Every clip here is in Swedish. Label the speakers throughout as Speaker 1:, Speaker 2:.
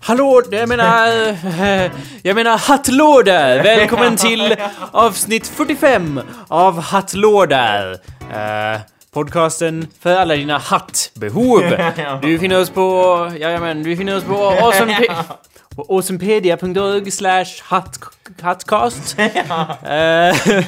Speaker 1: Hallå, jag menar... eh, Jag menar hattlådor! Välkommen till avsnitt 45 av Hattlådor! Eh, podcasten för alla dina hattbehov. Du finner oss på... Jajamän, du finner oss på awesome- på awesomepedia.org slash hatt- hattcast. Eh,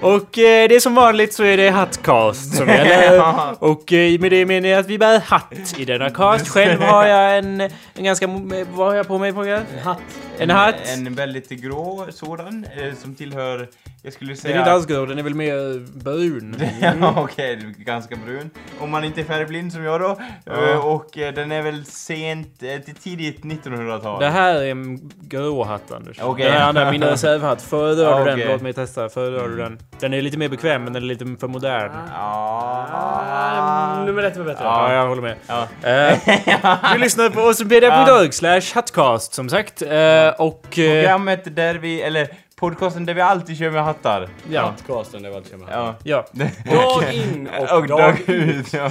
Speaker 1: och eh, det är som vanligt så är det hattcast som gäller. Och eh, med det menar jag att vi bär hatt i denna cast. Själv har jag en, en ganska... mo- eh, Vad har jag på mig? Frågar? jag?
Speaker 2: Hatt.
Speaker 1: En hatt?
Speaker 2: En väldigt grå sådan eh, som tillhör, jag skulle
Speaker 1: Den är inte
Speaker 2: säga...
Speaker 1: alls grå, den är väl mer brun.
Speaker 2: Ja, Okej, ganska brun. Om man inte är färgblind som jag då.
Speaker 1: Ja.
Speaker 2: Eh, Och eh, den är väl sent eh, till tidigt 1900-tal.
Speaker 1: Det här är en grå hatt Anders.
Speaker 2: Okej.
Speaker 1: Den här andra är min reservhatt. Föredrar du den?
Speaker 2: Okej.
Speaker 1: Låt mig testa. Föredrar du den? Den är lite mer bekväm men den är lite för modern.
Speaker 3: Ah.
Speaker 2: Ja.
Speaker 1: Nummer ett var bättre. Ja,
Speaker 2: Ja.
Speaker 1: jag håller med.
Speaker 2: Ja.
Speaker 1: Eh, du lyssnar på osmpedia.org slash hattcast som sagt. Eh, och... eh,
Speaker 2: Programmet där vi, eller podcasten där vi alltid kör med hattar.
Speaker 1: ja.
Speaker 3: Podcasten, det var allt jag menade.
Speaker 2: Ja.
Speaker 1: ja.
Speaker 3: Dag in och,
Speaker 2: Och
Speaker 3: dag,
Speaker 2: dag
Speaker 3: ut.
Speaker 2: ut. Ja.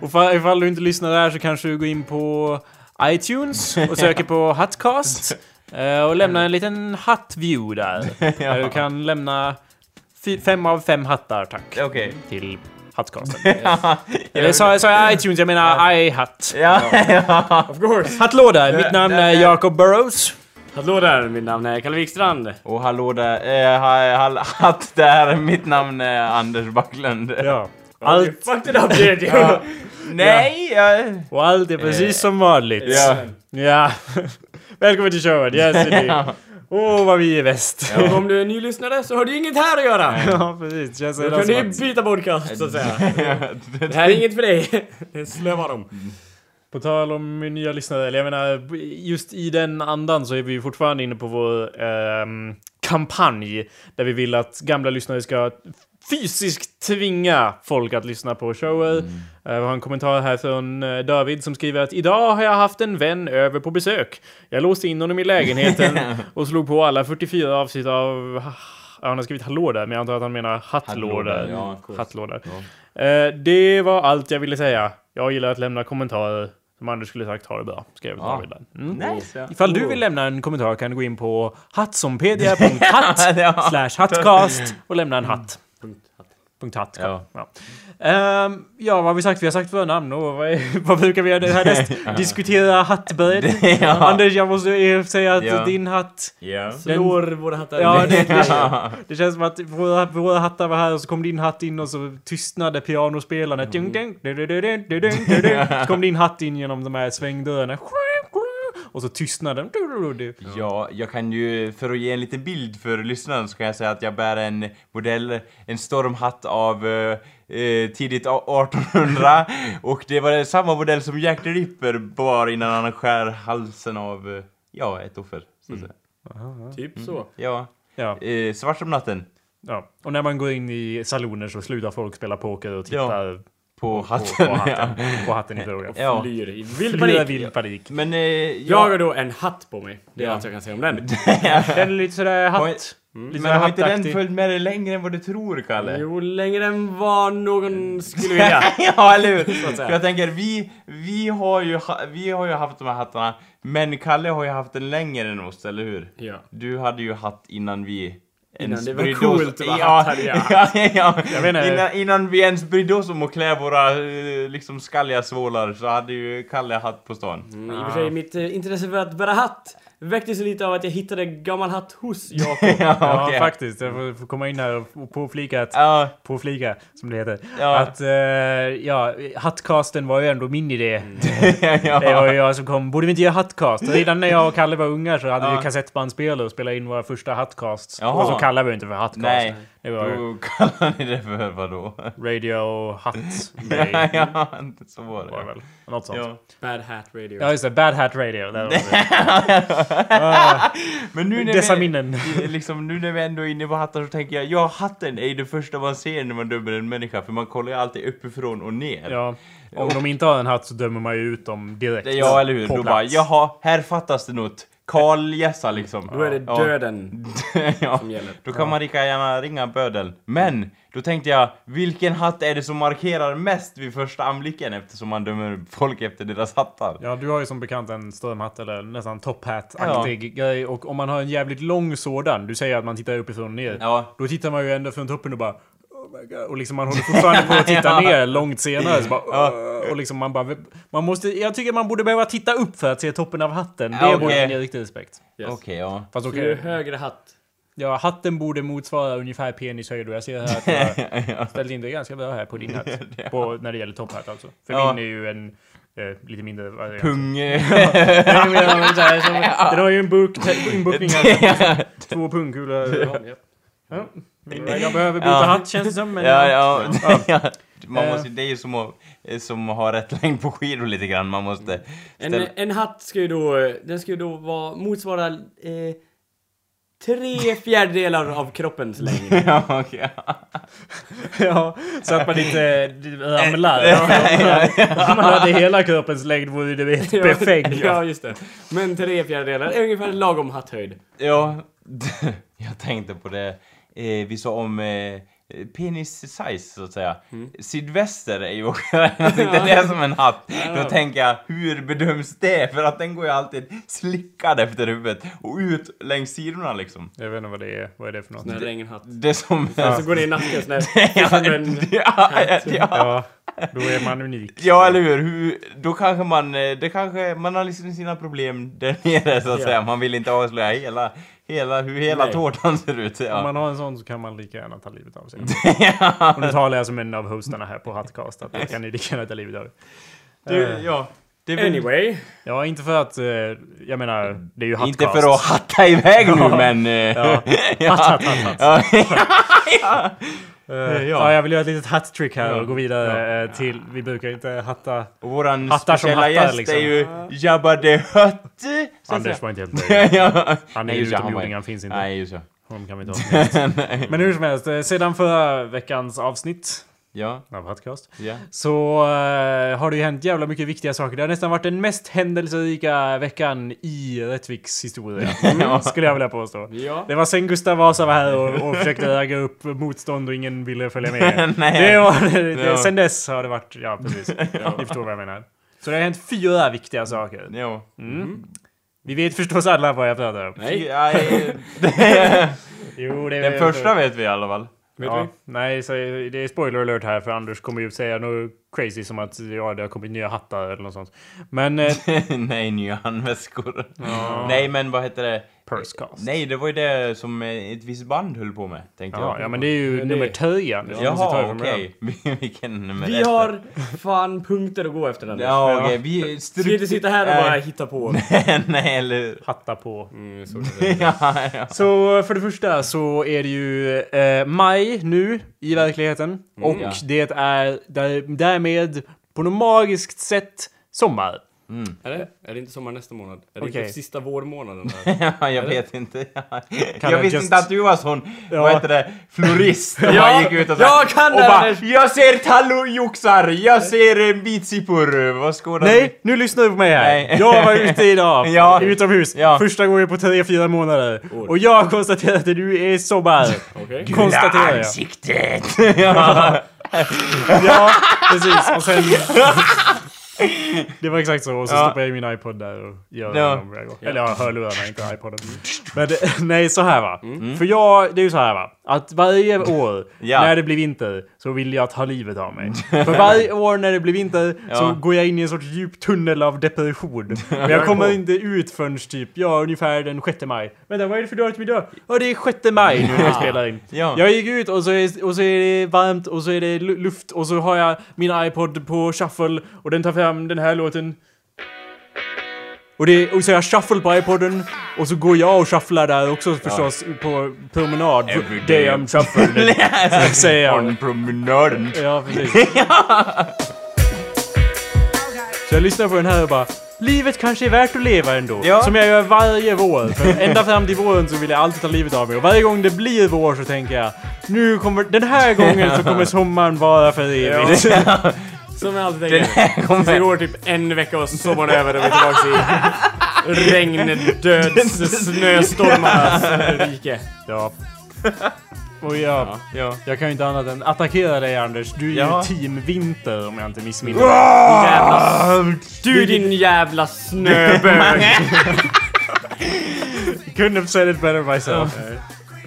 Speaker 1: Och ifall, ifall du inte lyssnar där så kanske du går in på iTunes och söker på hattcast. eh, och lämnar en liten hattview där. Där du kan lämna fy- fem av fem hattar tack.
Speaker 2: Okej.
Speaker 1: Till hattcasten. Eller sa, sa jag iTunes? Jag menar iHatt.
Speaker 2: Ja.
Speaker 3: Of course!
Speaker 1: Hattlåda! Mitt namn är Jacob Burrows.
Speaker 3: Hallå där, mitt namn är Kalle Wikstrand.
Speaker 2: Och hallå där, eh, ha- hall- hatt där, mitt namn är Anders Backlund.
Speaker 1: Ja.
Speaker 3: You
Speaker 1: Allt,
Speaker 3: fucked it up did you?
Speaker 2: Nej! Jag...
Speaker 1: och allt är precis som vanligt.
Speaker 2: Eh. Ja.
Speaker 1: Ja. Välkommen till showen, yes it is. Åh, vad vi är bäst.
Speaker 3: Och Om du är nylyssnare så har du inget här att göra.
Speaker 1: Ja, precis. Känns
Speaker 3: Då
Speaker 1: redan
Speaker 3: kan
Speaker 1: som
Speaker 3: du
Speaker 1: att...
Speaker 3: byta podcast så att säga. Det här är inget för dig. Det slövar om.
Speaker 1: På tal om nya lyssnare, eller jag menar, just i den andan så är vi ju fortfarande inne på vår ehm, kampanj där vi vill att gamla lyssnare ska fysiskt tvinga folk att lyssna på shower.
Speaker 2: Mm.
Speaker 1: Eh, vi har en kommentar här från eh, David som skriver att idag har jag haft en vän över på besök. Jag låste in honom i lägenheten och slog på alla 44 avsnitt av Ja, han har skrivit hallå där, men jag antar att han menar hattlådor.
Speaker 2: Hattlådor, ja, of course.
Speaker 1: hattlådor. Eh, det var allt jag ville säga. Jag gillar att lämna kommentarer. Som Anders skulle sagt, ha det bra. Skrev
Speaker 2: Ja. Oh.
Speaker 1: David där. Mm.
Speaker 2: Nice, ja.
Speaker 1: Ifall du vill lämna en kommentar kan du gå in på hattsompedia.hatt
Speaker 2: Ja. Mm.
Speaker 1: slash hattcast och lämna en hatt. Punkt hatt. Ja.
Speaker 2: Ja.
Speaker 1: Ja. Ehm, ja, vad har vi sagt? Vi har sagt våra namn och vad, är, vad brukar vi göra härnäst? Diskutera hattböjd.
Speaker 2: Ja.
Speaker 1: Anders, jag måste eh, säga att
Speaker 2: Ja.
Speaker 1: din hatt...
Speaker 2: Ja.
Speaker 3: Slår våra hattar.
Speaker 1: Ja, det, det, det känns som att våra, våra hattar var här och så kom din hatt in och så tystnade pianospelaren.
Speaker 2: Mm.
Speaker 1: Dung, dung, dung, dung, dung, dung, dung, dung. Så kom din hatt in genom de här svängdörrarna. Och så tystnade den. Du, du, du, du.
Speaker 2: Ja, jag kan ju, för att ge en liten bild för lyssnaren så kan jag säga att jag bär en modell, en stormhatt av eh, eh, tidigt a- 1800 och det var samma modell som Jack the Ripper bar innan han skär halsen av, eh, ja, ett offer. Så att säga.
Speaker 3: Typ så.
Speaker 2: Ja,
Speaker 1: Ja,
Speaker 2: eh, svart som natten
Speaker 1: ja. Och när man går in i saloner så slutar folk spela poker och tittar
Speaker 2: på
Speaker 1: på
Speaker 2: hatten.
Speaker 1: hatten, på hatten i fråga.
Speaker 2: Ja.
Speaker 3: Flyr i vild
Speaker 1: Flyr
Speaker 3: panik.
Speaker 1: vild panik.
Speaker 2: Men eh,
Speaker 3: Jag
Speaker 2: jag...
Speaker 3: har då en hatt på mig. Det är
Speaker 2: Ja.
Speaker 3: allt jag kan säga om den.
Speaker 1: Den är lite sådär
Speaker 2: Har-
Speaker 1: hatt. Lite sådär
Speaker 2: Men har inte den
Speaker 1: hattaktig.
Speaker 2: följt med dig längre än vad du tror, Kalle?
Speaker 3: Jo, längre än vad någon skulle vilja.
Speaker 2: ja, eller hur?
Speaker 3: Så att säga.
Speaker 2: För jag tänker, vi, vi, har ju, ha- vi har ju haft de här hattarna, men Kalle har ju haft den längre än oss, eller hur?
Speaker 3: Ja.
Speaker 2: Du hade ju hatt innan vi
Speaker 3: Innan det var
Speaker 2: brydde oss-
Speaker 3: coolt att vara
Speaker 2: ja,
Speaker 3: hatt, hade jag
Speaker 2: ja, ja.
Speaker 1: Jag vet inte.
Speaker 2: Innan, innan vi ens brydde oss om att klä våra eh, liksom skalliga svålar så hade ju Kalle hatt på stan.
Speaker 3: Mm, I och för sig, mitt eh, intresse för att bära hatt väcktes lite av att jag hittade gammal hatt hos Jakob.
Speaker 1: Ja,
Speaker 2: okej.
Speaker 1: faktiskt. Jag får- får komma in här och påflika att
Speaker 2: Ja,
Speaker 1: påflika, som det heter.
Speaker 2: Ja.
Speaker 1: Att, eh, ja, hattcasten var ju ändå min idé.
Speaker 2: Mm. ja.
Speaker 1: Det var ju jag som kom. Borde vi inte göra hattcast? Redan när jag och Kalle var unga så hade
Speaker 2: Ja.
Speaker 1: vi kassettbandspelare och spelade in våra första hattcasts.
Speaker 2: Jaha.
Speaker 1: Och så kallade vi det inte för hattcast.
Speaker 2: Nej.
Speaker 1: Det var ju
Speaker 2: Då kallar ni det för vadå?
Speaker 1: radio hatt
Speaker 2: Ja,
Speaker 1: Day,
Speaker 2: ja, så var
Speaker 1: var det
Speaker 2: det.
Speaker 1: väl. Något sånt. Ja.
Speaker 2: Ja.
Speaker 3: Bad Hat Radio.
Speaker 1: just det. Bad Hat Radio. Där var det.
Speaker 2: Men nu när
Speaker 1: Dessa
Speaker 2: vi-
Speaker 1: minnen.
Speaker 2: I- liksom, nu när vi ändå är inne på hattar så tänker jag, ja hatten är ju det första man ser när man dömer en människa för man kollar ju alltid uppifrån och ner.
Speaker 1: Ja. Om de inte har en hatt så dömer man ju ut dem direkt.
Speaker 2: Det- ja eller hur?
Speaker 1: På
Speaker 2: Då
Speaker 1: plats.
Speaker 2: bara, jaha, här fattas det något. Karl Gessa liksom.
Speaker 3: Då är det
Speaker 2: Ja.
Speaker 3: döden
Speaker 2: ja.
Speaker 3: som gäller.
Speaker 2: Då kan man lika gärna ringa bödeln. Men då tänkte jag, vilken hatt är det som markerar mest vid första anblicken eftersom man dömer folk efter deras hattar?
Speaker 1: Ja, du har ju som bekant en strömhatt eller nästan top hat-aktig grej och om man har en jävligt lång sådan, du säger att man tittar uppifrån och ner,
Speaker 2: Ja.
Speaker 1: då tittar man ju ända från toppen och bara "Oh my God." och liksom man håller fortfarande på att titta ner långt senare. Så bara, "Åh." Och liksom man bara... Man måste, jag tycker man borde behöva titta upp för att se toppen av hatten. Det
Speaker 2: Ja, okej.
Speaker 1: borde ge riktig respekt.
Speaker 3: Yes.
Speaker 2: Okej, ja.
Speaker 1: Fast
Speaker 3: Så
Speaker 1: okej.
Speaker 3: ju högre hatt. och
Speaker 1: Ja, hatten borde motsvara ungefär penishöjd och jag ser här att du har ställt in det ganska bra här på din hatt. På, när det gäller top hat alltså. För
Speaker 2: Ja.
Speaker 1: min är ju en eh, lite mindre variant.
Speaker 2: Pung...
Speaker 1: Nej, men jag menar så här, som- Den har ju en buk, inbokning alltså. Två pungkulor.
Speaker 3: Ja, ja.
Speaker 1: Ja. Jag behöver byta
Speaker 2: Ja.
Speaker 1: hatt känns det som. Men
Speaker 2: ja, ja. ja. Man
Speaker 1: Eh.
Speaker 2: måste, det är ju som att, eh, som att ha rätt längd på skidor lite grann. Man måste...
Speaker 3: En,
Speaker 2: Ställ-
Speaker 3: en hatt ska ju då, eh, den ska ju då vara, motsvara eh, tre fjärdedelar av kroppens längd.
Speaker 2: ja, okej.
Speaker 1: Ja, så att man inte ramlar. Om man hade hela kroppens längd vore det helt perfekt.
Speaker 3: ja, just det. Men tre fjärdedelar är ungefär lagom hatthöjd.
Speaker 2: Ja, jag tänkte på det. Eh, vi sa om eh, penis size, så att säga. Sydväster är ju också... Jag tänkte det är som en hatt. Då tänker jag, hur bedöms det? För att den går ju alltid slickad efter huvudet och ut längs sidorna liksom.
Speaker 1: Jag vet inte vad det är. Vad är det för något?
Speaker 3: Sån här regnhatt.
Speaker 2: Det är som...
Speaker 3: Och så går det i nacken sån här. som en,
Speaker 2: ja, ja.
Speaker 1: Ja, då är man unik.
Speaker 2: Ja, eller hur? hur? Då kanske man... eh, Det kanske, man har liksom sina problem där nere, så att
Speaker 1: Ja.
Speaker 2: säga. Man vill inte avslöja hela, hela, hur hela
Speaker 3: Nej.
Speaker 2: tårtan ser ut.
Speaker 1: Om
Speaker 2: Ja.
Speaker 1: man har en sån så kan man lika gärna ta livet av sig. Och nu talar jag som en av hostarna här på Hattcast. Att det kan ni lika gärna ta livet av er.
Speaker 2: Du, ja. Det är väl-
Speaker 3: anyway.
Speaker 1: Ja, inte för att... eh, Jag menar, det är ju Hattcast.
Speaker 2: Inte för att hatta iväg nu, men... eh,
Speaker 1: Ja. Hatt, hatt, hatt, hatt.
Speaker 2: ja.
Speaker 1: Eh,
Speaker 2: ja.
Speaker 1: Ja, jag vill göra ett litet hat-trick här och gå vidare eh, till... Vi brukar inte hatta...
Speaker 2: Och våran
Speaker 1: Hattar som
Speaker 2: speciella
Speaker 1: hattar,
Speaker 2: gäst
Speaker 1: liksom.
Speaker 2: är ju Jabba the Hutt. så att
Speaker 1: Anders
Speaker 2: säga.
Speaker 1: var inte helt nöjd.
Speaker 2: ja.
Speaker 1: Han är
Speaker 2: Nej, just det, han var-
Speaker 1: utomjording, han finns inte.
Speaker 2: Nej, just det.
Speaker 1: Honom kan vi inte ha. Men hur som helst, eh, sedan förra veckans avsnitt
Speaker 2: Ja,
Speaker 1: av Hattcast
Speaker 2: ja.
Speaker 1: så eh, har det ju hänt jävla mycket viktiga saker. Det har nästan varit den mest händelserika veckan i Rättviks historia. Skulle jag vilja påstå.
Speaker 3: Ja.
Speaker 1: Det var sen Gustav Vasa var här och, och försökte äga upp motstånd och ingen ville följa med.
Speaker 2: Nej.
Speaker 1: det var, det,
Speaker 2: Ja.
Speaker 1: Sen dess har det varit, ja precis. Ni förstår vad jag menar. Så det har hänt fyra viktiga saker.
Speaker 2: Ja.
Speaker 1: Vi vet förstås alla vad jag pratar om.
Speaker 3: Nej.
Speaker 2: Ja, eh,
Speaker 1: Jo, det
Speaker 2: Den första vet vi i alla fall.
Speaker 3: Vet
Speaker 1: ja, Nej, så det är spoiler alert här för Anders kommer ju säga något crazy som att ja, det har kommit nya hattar eller något sånt. Men... Eh,
Speaker 2: Nej, nya handväskor. Nej, men vad heter det?
Speaker 1: Pursecast.
Speaker 2: Nej, det var ju det som eh, ett visst band höll på med, tänkte
Speaker 1: Ja,
Speaker 2: jag.
Speaker 1: ja, men det är ju
Speaker 3: Men det-
Speaker 1: nummer 10 Anders. Vi måste ta
Speaker 2: Jaha,
Speaker 1: det från början.
Speaker 2: okej. Vilken nummer
Speaker 3: Vi
Speaker 2: ett.
Speaker 3: har fan punkter att gå efter den. Ja.
Speaker 2: Ja, okej. Vi...
Speaker 3: Ska inte sitta här och bara hitta på.
Speaker 2: Nej, eller hur?
Speaker 1: Hatta på.
Speaker 3: Mm, så är det.
Speaker 2: Ja, ja.
Speaker 1: Så för det första så är det ju eh, maj nu i verkligheten. och
Speaker 2: Mm. ja.
Speaker 1: det är där, därmed på något magiskt sätt sommar.
Speaker 2: Mm.
Speaker 3: Är det? Är det inte sommar nästa månad? Är det
Speaker 1: Okej.
Speaker 3: inte typ sista vårmånaden? Där?
Speaker 2: Ja, jag vet inte. Ja. Jag
Speaker 1: jag
Speaker 2: visste
Speaker 1: just-
Speaker 2: inte att du var sån,
Speaker 1: Ja.
Speaker 2: vad heter det, florist. som
Speaker 3: Ja,
Speaker 2: bara gick ut och så här-
Speaker 3: jag kan
Speaker 2: och
Speaker 3: det här,
Speaker 2: bara,
Speaker 3: Anders.
Speaker 2: Jag ser tallojoxar, jag ser eh, bitsippor, vad skådar
Speaker 1: Nej, nu lyssnar du på mig här.
Speaker 2: Nej.
Speaker 1: Jag var ute idag,
Speaker 2: Ja.
Speaker 1: utomhus,
Speaker 2: Ja.
Speaker 1: första gången på 3-4 månader.
Speaker 3: Oj.
Speaker 1: Och jag konstaterar att det nu är sommar.
Speaker 3: Okej.
Speaker 2: du?
Speaker 1: konstaterar jag.
Speaker 2: ansiktet! ja.
Speaker 1: ja, precis. Och sen... Det var exakt så. Och så
Speaker 2: Ja.
Speaker 1: stoppar jag i min iPod där och gör
Speaker 2: Ja. Mm.
Speaker 1: ja. Eller ja, hörlurarna, inte iPoden. Men det- nej, så här va. För jag, det är ju så här va. Att varje år
Speaker 2: Ja.
Speaker 1: när det blir vinter så vill jag ta livet av mig. För varje år när det blir vinter
Speaker 2: Ja.
Speaker 1: så går jag in i en sorts djup tunnel av depression. Men jag kommer inte ut förrän typ, ja ungefär den 6 maj. Vänta, vad är det för datum idag? Ja, det är 6 maj nu när vi spelar in.
Speaker 2: Ja.
Speaker 1: Jag gick ut och så, är, och så är det varmt och så är det lu- luft och så har jag min iPod på shuffle och den tar fram den här låten. Och, det, och så har jag shuffle på iPoden och så går jag och shufflar där också förstås på promenad.
Speaker 2: Every
Speaker 1: Day
Speaker 2: day.
Speaker 1: I'm shuffling. säger jag.
Speaker 2: On promenaden.
Speaker 1: Ja, precis. Så jag lyssnar på den här och bara Livet kanske är värt att leva ändå.
Speaker 2: Ja.
Speaker 1: Som jag gör varje vår. För ända fram till våren så vill jag alltid ta livet av mig. Och varje gång det blir vår så tänker jag nu kommer, den här gången så kommer sommaren vara för evigt.
Speaker 3: Som jag alltid tänker. Så det går typ en vecka och sommaren är över och vi är tillbaka regn, döds, snöstormarnas rike.
Speaker 1: Ja. Och jag, ja.
Speaker 2: Ja.
Speaker 1: jag kan ju inte annat än attackera dig Anders. Du är
Speaker 2: Ja.
Speaker 1: ju team vinter om jag inte missminner mig.
Speaker 3: Jävla, du din jävla snöbög.
Speaker 1: Couldn't have said it better myself.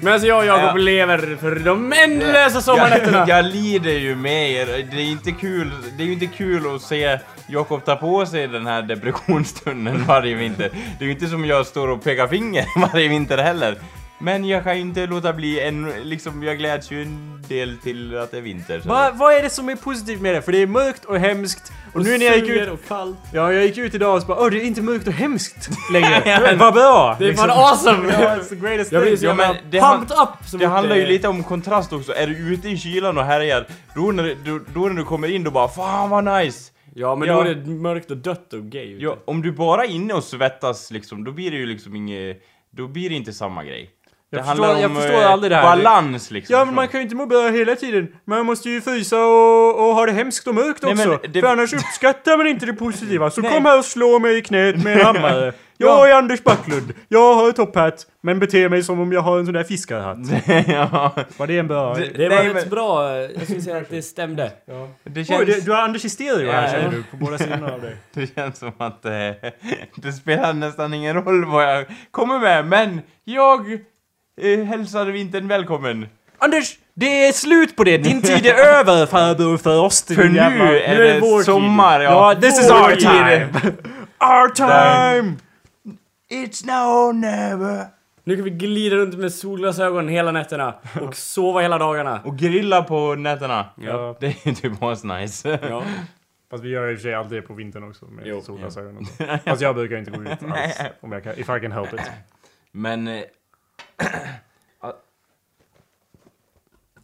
Speaker 3: Men alltså jag och Jakob lever för de ändlösa sommarnätterna.
Speaker 2: Jag, jag lider ju med er. Det är inte kul, det är ju inte kul att se Jakob ta på sig den här depressionsstunden varje vinter. Det är ju inte som jag står och pekar finger varje vinter heller. Men jag kan ju inte låta bli en, liksom jag gläds ju en del till att det är vinter. Så.
Speaker 1: Va, vad är det som är positivt med det? För det är mörkt och hemskt. Och, nu när jag gick ut...
Speaker 3: Sur och kall.
Speaker 1: Ja, jag gick ut idag och så bara åh, det är inte mörkt och hemskt längre. Vad bra! Liksom.
Speaker 3: Det är fan awesome!
Speaker 1: Ja, it's the greatest
Speaker 3: Jag blir så
Speaker 1: thing.
Speaker 2: liksom- Ja, men
Speaker 3: jävla
Speaker 2: det han-
Speaker 3: pumped up! Som
Speaker 2: Det
Speaker 3: att,
Speaker 2: handlar ju
Speaker 3: eh,
Speaker 2: lite om kontrast också. Är du ute i kylan och härjar, då när, då, då när du kommer in då bara fan vad nice!
Speaker 3: Ja men
Speaker 2: Ja.
Speaker 3: då är det mörkt och dött och gay ute.
Speaker 2: Ja, om du bara är inne och svettas liksom, då blir det ju liksom inget, då blir det inte samma grej.
Speaker 1: Jag förstår- jag förstår aldrig det här.
Speaker 2: eh, balans liksom.
Speaker 1: Ja men man kan ju inte må bra hela tiden. Man måste ju frysa och, och ha det hemskt och mörkt
Speaker 2: Nej, men
Speaker 1: också.
Speaker 2: det-
Speaker 1: För annars uppskattar man inte det positiva. Så
Speaker 2: Nej.
Speaker 1: kom här och slå mig i knät med en hammare. Jag är Anders Backlund. Jag har topphatt. Men beter mig som om jag har en sån där fiskarhatt.
Speaker 2: ja,
Speaker 1: Var det en bra...
Speaker 2: det,
Speaker 3: Det var
Speaker 2: nej,
Speaker 3: rätt
Speaker 2: men,
Speaker 3: bra, eh, jag skulle säga att det stämde.
Speaker 2: det,
Speaker 1: Oj,
Speaker 2: känns,
Speaker 1: det, du har Anders i stereo här
Speaker 3: Ja,
Speaker 1: känner
Speaker 3: ja.
Speaker 1: du. På båda sidorna av dig.
Speaker 2: det känns som att eh, det spelar nästan ingen roll vad jag kommer med, men jag eh, hälsade vintern välkommen.
Speaker 1: Anders! Det är slut på det! Din tid är över farbror för oss.
Speaker 2: För nu är
Speaker 3: nu är
Speaker 2: det
Speaker 3: vår tid.
Speaker 2: sommar,
Speaker 1: Ja, this is
Speaker 2: Vår
Speaker 1: our
Speaker 2: tid.
Speaker 1: time! Our time!
Speaker 2: It's now or never.
Speaker 3: Nu kan vi glida runt med solglasögon hela nätterna och sova hela dagarna.
Speaker 2: Och grilla på nätterna.
Speaker 3: Ja.
Speaker 2: Det är typ asnice.
Speaker 3: Ja.
Speaker 1: Fast vi gör i och för sig alltid det på vintern också med
Speaker 3: Jo.
Speaker 1: solglasögon och så. Fast jag brukar inte gå ut alls. om jag kan, if I can help it.
Speaker 2: Men... eh, ah,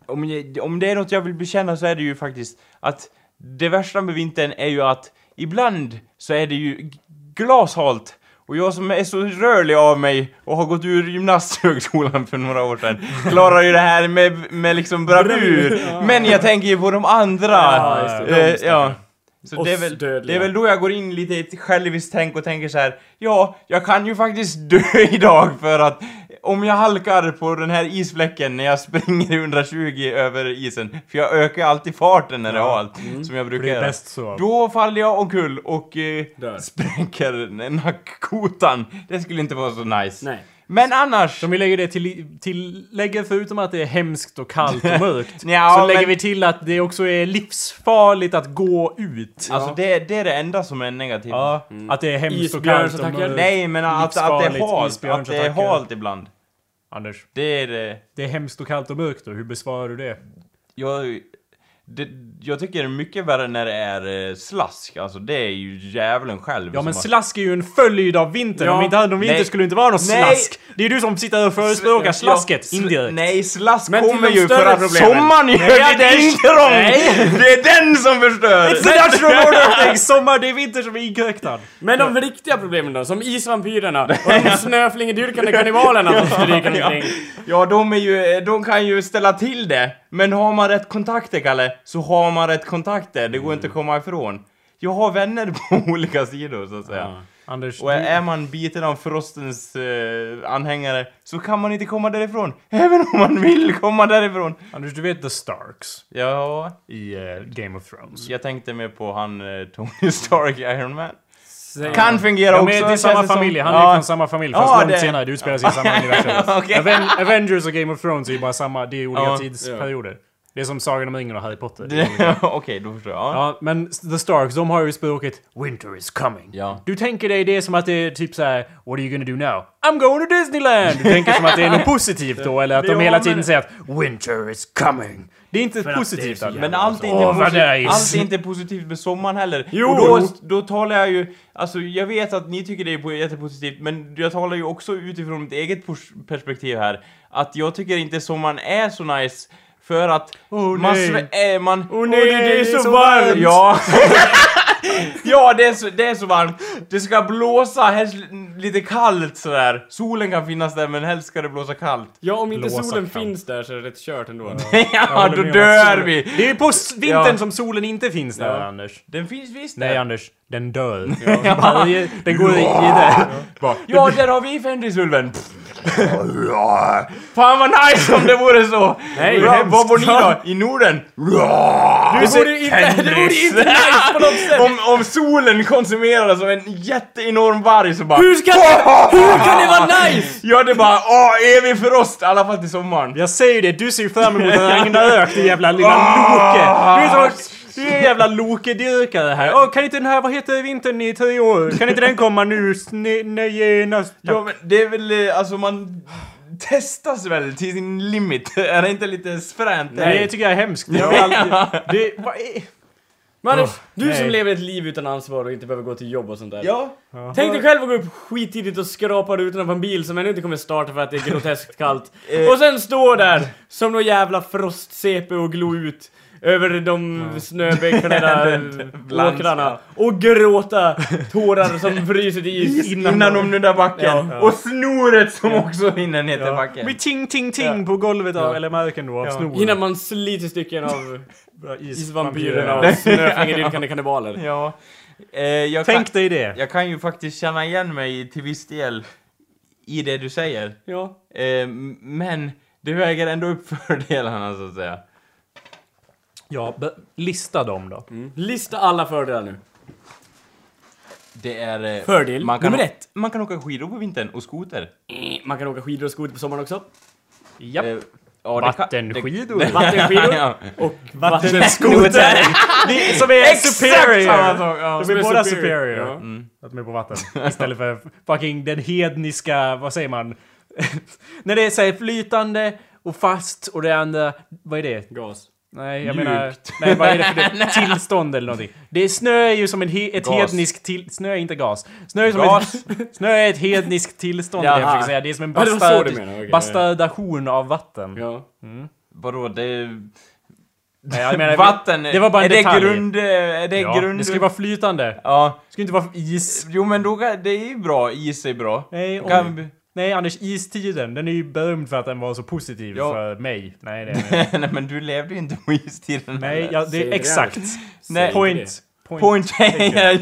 Speaker 2: om, jag- om det är något jag vill bekänna så är det ju faktiskt att det värsta med vintern är ju att ibland så är det ju g- glashalt. Och jag som är så rörlig av mig och har gått ur gymnasthögskolan för några år sedan klarar ju det här med, med liksom bravur. Men jag tänker ju på de andra.
Speaker 3: Ja, just det. De
Speaker 2: Eh, ja. Så
Speaker 3: Och
Speaker 2: det är, väl, det
Speaker 3: dödliga.
Speaker 2: är väl då jag går in lite i ett själviskt tänk och tänker så här. Ja, jag kan ju faktiskt dö idag för att om jag halkar på den här isfläcken när jag springer i 120 över isen, för jag ökar alltid farten när det är halt, som jag brukar
Speaker 1: Mm. Det är
Speaker 2: göra.
Speaker 1: bäst så.
Speaker 2: Då faller jag omkull och eh,
Speaker 3: Dör.
Speaker 2: spräcker nackkotan. Det skulle inte vara så nice.
Speaker 3: Nej.
Speaker 2: Men annars...
Speaker 1: Som vi lägger det till, till lägger förutom att det är hemskt och kallt och mörkt.
Speaker 2: Nja,
Speaker 1: så lägger
Speaker 2: men-
Speaker 1: vi till att det också är livsfarligt att gå ut.
Speaker 2: Alltså det, det är det enda som är negativt.
Speaker 1: Ja, att det är hemskt och kallt och
Speaker 3: Isbjörnsattacker.
Speaker 1: mörkt.
Speaker 2: Nej, men att, att det är
Speaker 1: Livsfarligt,
Speaker 2: halt. Att det är
Speaker 1: isbjörnsattacker.
Speaker 2: halt ibland.
Speaker 1: Anders,
Speaker 2: Det är det.
Speaker 1: det är hemskt och kallt och mörkt då. Hur besvarar du det?
Speaker 2: Jag, det, jag tycker det är mycket värre när det är eh, slask, alltså det är ju djävulen själv
Speaker 1: Ja
Speaker 2: som
Speaker 1: men
Speaker 2: har-
Speaker 1: slask är ju en följd av vintern.
Speaker 3: Ja.
Speaker 1: Om vi inte hade någon vinter
Speaker 2: Nej.
Speaker 1: skulle det inte vara någon
Speaker 2: Nej.
Speaker 1: slask. Det är du som sitter och förespråkar
Speaker 2: Ja,
Speaker 1: slasket
Speaker 2: sl-
Speaker 1: indirekt.
Speaker 2: Nej, slask
Speaker 3: Men till
Speaker 2: kommer
Speaker 3: de
Speaker 2: ju för
Speaker 3: större
Speaker 2: att
Speaker 3: problemen.
Speaker 2: sommaren gör det intrång! Det är den som förstör!
Speaker 1: It's the natural order of things! Sommar, det är vinter som är inkräktad.
Speaker 3: Men de riktiga problemen då, som isvampyrerna och de snöflingedyrkande kannibalerna som stryker omkring.
Speaker 2: Ja, de, är ju, eh, de kan ju ställa till det. Men har man rätt kontakter, Kalle, så har man rätt kontakter. Det går
Speaker 1: Mm.
Speaker 2: inte att komma ifrån. Jag har vänner på olika sidor, så att säga.
Speaker 1: Anders,
Speaker 2: Och är man biten av Frostens eh, anhängare så kan man inte komma därifrån. Även om man vill komma därifrån.
Speaker 1: Anders, du vet The Starks
Speaker 2: Ja,
Speaker 1: i eh, Game of Thrones.
Speaker 2: jag tänkte mer på han eh, Tony Stark, Iron Man.
Speaker 3: Säger-
Speaker 2: Kan fungera
Speaker 1: Ja,
Speaker 2: också.
Speaker 1: men det är
Speaker 2: känns
Speaker 1: samma
Speaker 2: det som.
Speaker 1: familj, han är
Speaker 2: Ja.
Speaker 1: från samma familj
Speaker 2: Ja,
Speaker 1: fast långt
Speaker 2: det-
Speaker 1: senare, det utspelar sig i samma universum.
Speaker 2: Okej.
Speaker 1: Aven- Avengers och Game of Thrones är ju bara samma, det är olika
Speaker 2: Ja,
Speaker 1: tidsperioder. Det är som Sagan om ringen och Harry Potter. Det är olika.
Speaker 2: Det- Okej, då förstår jag. Ja.
Speaker 1: Ja, men The Starks, de har ju språket “Winter is coming”.
Speaker 2: Ja.
Speaker 1: Du tänker dig det som att det är typ så här: “What are you gonna do now?” “I'm going to Disneyland!” Du tänker som att det är något positivt då, eller att de hela tiden säger att “Winter is coming”. Det är inte positivt. Allan.
Speaker 2: Men allt är,
Speaker 1: Åh,
Speaker 2: inte
Speaker 1: vad
Speaker 2: posi-
Speaker 1: nice.
Speaker 2: allt är inte positivt med sommaren heller.
Speaker 1: Jo.
Speaker 2: Och då, då talar jag ju, alltså jag vet att ni tycker det är po- jättepositivt, men jag talar ju också utifrån mitt eget pers- perspektiv här. Att jag tycker inte sommaren är så nice, för att
Speaker 1: Åh,
Speaker 2: man,
Speaker 1: nej.
Speaker 2: sve- äh, man
Speaker 1: Åh, nej, det är så varmt.
Speaker 2: Ja. Ja, det är, så, det är så varmt. Det ska blåsa, helst lite kallt sådär. Solen kan finnas där, men helst ska det blåsa kallt.
Speaker 3: Ja, om inte
Speaker 1: Blåsa
Speaker 3: solen
Speaker 1: kan.
Speaker 3: finns där så är det rätt kört ändå.
Speaker 2: Ja,
Speaker 1: håller med
Speaker 2: då
Speaker 1: om att
Speaker 2: dör
Speaker 1: solen-
Speaker 2: vi!
Speaker 1: Det är på s- vintern
Speaker 2: Ja.
Speaker 1: som solen inte finns där, Anders.
Speaker 2: Den finns visst
Speaker 1: Nej,
Speaker 2: där.
Speaker 1: Anders. Den dör. Bara, den går i det. Bara,
Speaker 2: Ja, där har vi Fenrisulven! Fan vad nice om det vore så!
Speaker 1: Nej,
Speaker 2: Bra,
Speaker 1: hemskt.
Speaker 2: Vad bor ni då? I Norden? Du
Speaker 3: borde inte- det borde inte nice på något sätt.
Speaker 2: Om, om solen konsumeras av en jätteenorm varg så bara...
Speaker 3: Hur ska det... Hur kan det vara nice?
Speaker 2: Ja, det är bara åh, evig frost! I alla fall till sommaren.
Speaker 1: Jag säger det, du ser ju fram emot att regna ök din jävla
Speaker 2: Ah!
Speaker 1: lilla loke! Du är så... Du är en jävla lokedyrkare här. Åh, kan inte den här, vad heter vintern i tre år? Kan inte den komma nu? Snö, nej, genast.
Speaker 2: Ja, men det är väl, eh, alltså man testas väl till sin limit? Är det inte lite fränt?
Speaker 1: Nej, det tycker jag är hemskt. Det är all- det, vad är...
Speaker 3: Men Anders,
Speaker 1: Åh,
Speaker 3: du som
Speaker 1: nej.
Speaker 3: lever ett liv utan ansvar och inte behöver gå till jobb och sånt där.
Speaker 2: Ja.
Speaker 3: Tänk dig själv att gå upp skittidigt och skrapa rutorna på en bil som ännu inte kommer starta för att det är groteskt kallt.
Speaker 2: Eh.
Speaker 3: Och sen stå där som någon jävla frost-CP och glo ut över de snöbeklädda
Speaker 2: Bland-
Speaker 3: åkrarna och gråta tårar som fryser till is.
Speaker 2: Innan, de nuddar backen. Och snoret som också hinner ner till
Speaker 1: Ja.
Speaker 2: backen.
Speaker 1: Blir ting, ting, ting på golvet av, eller marken då, av snor.
Speaker 3: Innan man sliter stycken av
Speaker 1: Bra, is-
Speaker 3: isvampyrerna och snöflingedyrkande kannibaler.
Speaker 2: Ja. Eh, jag,
Speaker 1: Tänk
Speaker 2: kan,
Speaker 1: dig det.
Speaker 2: jag kan ju faktiskt känna igen mig till viss del i det du säger.
Speaker 3: Ja.
Speaker 2: Eh, m- men det väger ändå upp fördelarna så att säga.
Speaker 1: Ja, be- lista dem då.
Speaker 2: Mm.
Speaker 3: Lista alla fördelar nu.
Speaker 2: Det är... eh,
Speaker 3: Fördel
Speaker 2: man kan
Speaker 3: nummer
Speaker 2: å-
Speaker 3: ett.
Speaker 2: Man kan åka skidor på vintern och skoter.
Speaker 3: Eh, Man kan åka skidor och skoter på sommaren också.
Speaker 1: Japp.
Speaker 2: Eh, ja, det kan-
Speaker 1: Vattenskidor.
Speaker 2: det-
Speaker 3: Vattenskidor.
Speaker 2: ja.
Speaker 3: Och
Speaker 1: Vattenskoter! Det- Som är
Speaker 2: samma
Speaker 1: superior!
Speaker 2: sak, ja.
Speaker 1: De är båda superior.
Speaker 3: Ja.
Speaker 1: Att de är på vatten. Istället för fucking den hedniska, vad säger man? När det är såhär flytande och fast och det andra, vad är det?
Speaker 3: Gas.
Speaker 1: Nej, jag menar... Nej, vad är det för det? Tillstånd eller någonting. Det är snö är ju som en he, ett
Speaker 2: Gas.
Speaker 1: hedniskt till... Snö är inte gas. Snö är, som
Speaker 2: Gas.
Speaker 1: Ett, snö är ett hedniskt tillstånd,
Speaker 2: Jaha.
Speaker 1: det jag försöker säga. Det är som en
Speaker 3: Ja, det var så
Speaker 1: bastard,
Speaker 3: du menade, okej.
Speaker 1: bastardation av vatten.
Speaker 3: Ja.
Speaker 2: Vadå, det...
Speaker 1: Nej, jag menar,
Speaker 2: Vatten,
Speaker 1: det var bara en
Speaker 2: är det
Speaker 1: detalj.
Speaker 2: grund... eh, Är det
Speaker 1: Ja,
Speaker 2: grund...
Speaker 1: det ska ju vara flytande.
Speaker 2: Ja.
Speaker 1: Det ska ju inte vara is.
Speaker 2: Jo men då, kan- det är ju bra, is är bra.
Speaker 1: Nej,
Speaker 2: Då kan
Speaker 1: oj.
Speaker 2: vi-
Speaker 1: Nej, Anders, istiden, den är ju berömd för att den var så positiv
Speaker 2: Ja.
Speaker 1: för mig. Nej, det är
Speaker 2: Nej men du levde ju inte på istiden
Speaker 1: Nej,
Speaker 2: heller.
Speaker 1: ja,
Speaker 3: Säger
Speaker 1: det är
Speaker 3: det
Speaker 1: exakt.
Speaker 2: Nej,
Speaker 3: Säger
Speaker 1: Point.
Speaker 3: det.
Speaker 1: Point.
Speaker 2: Point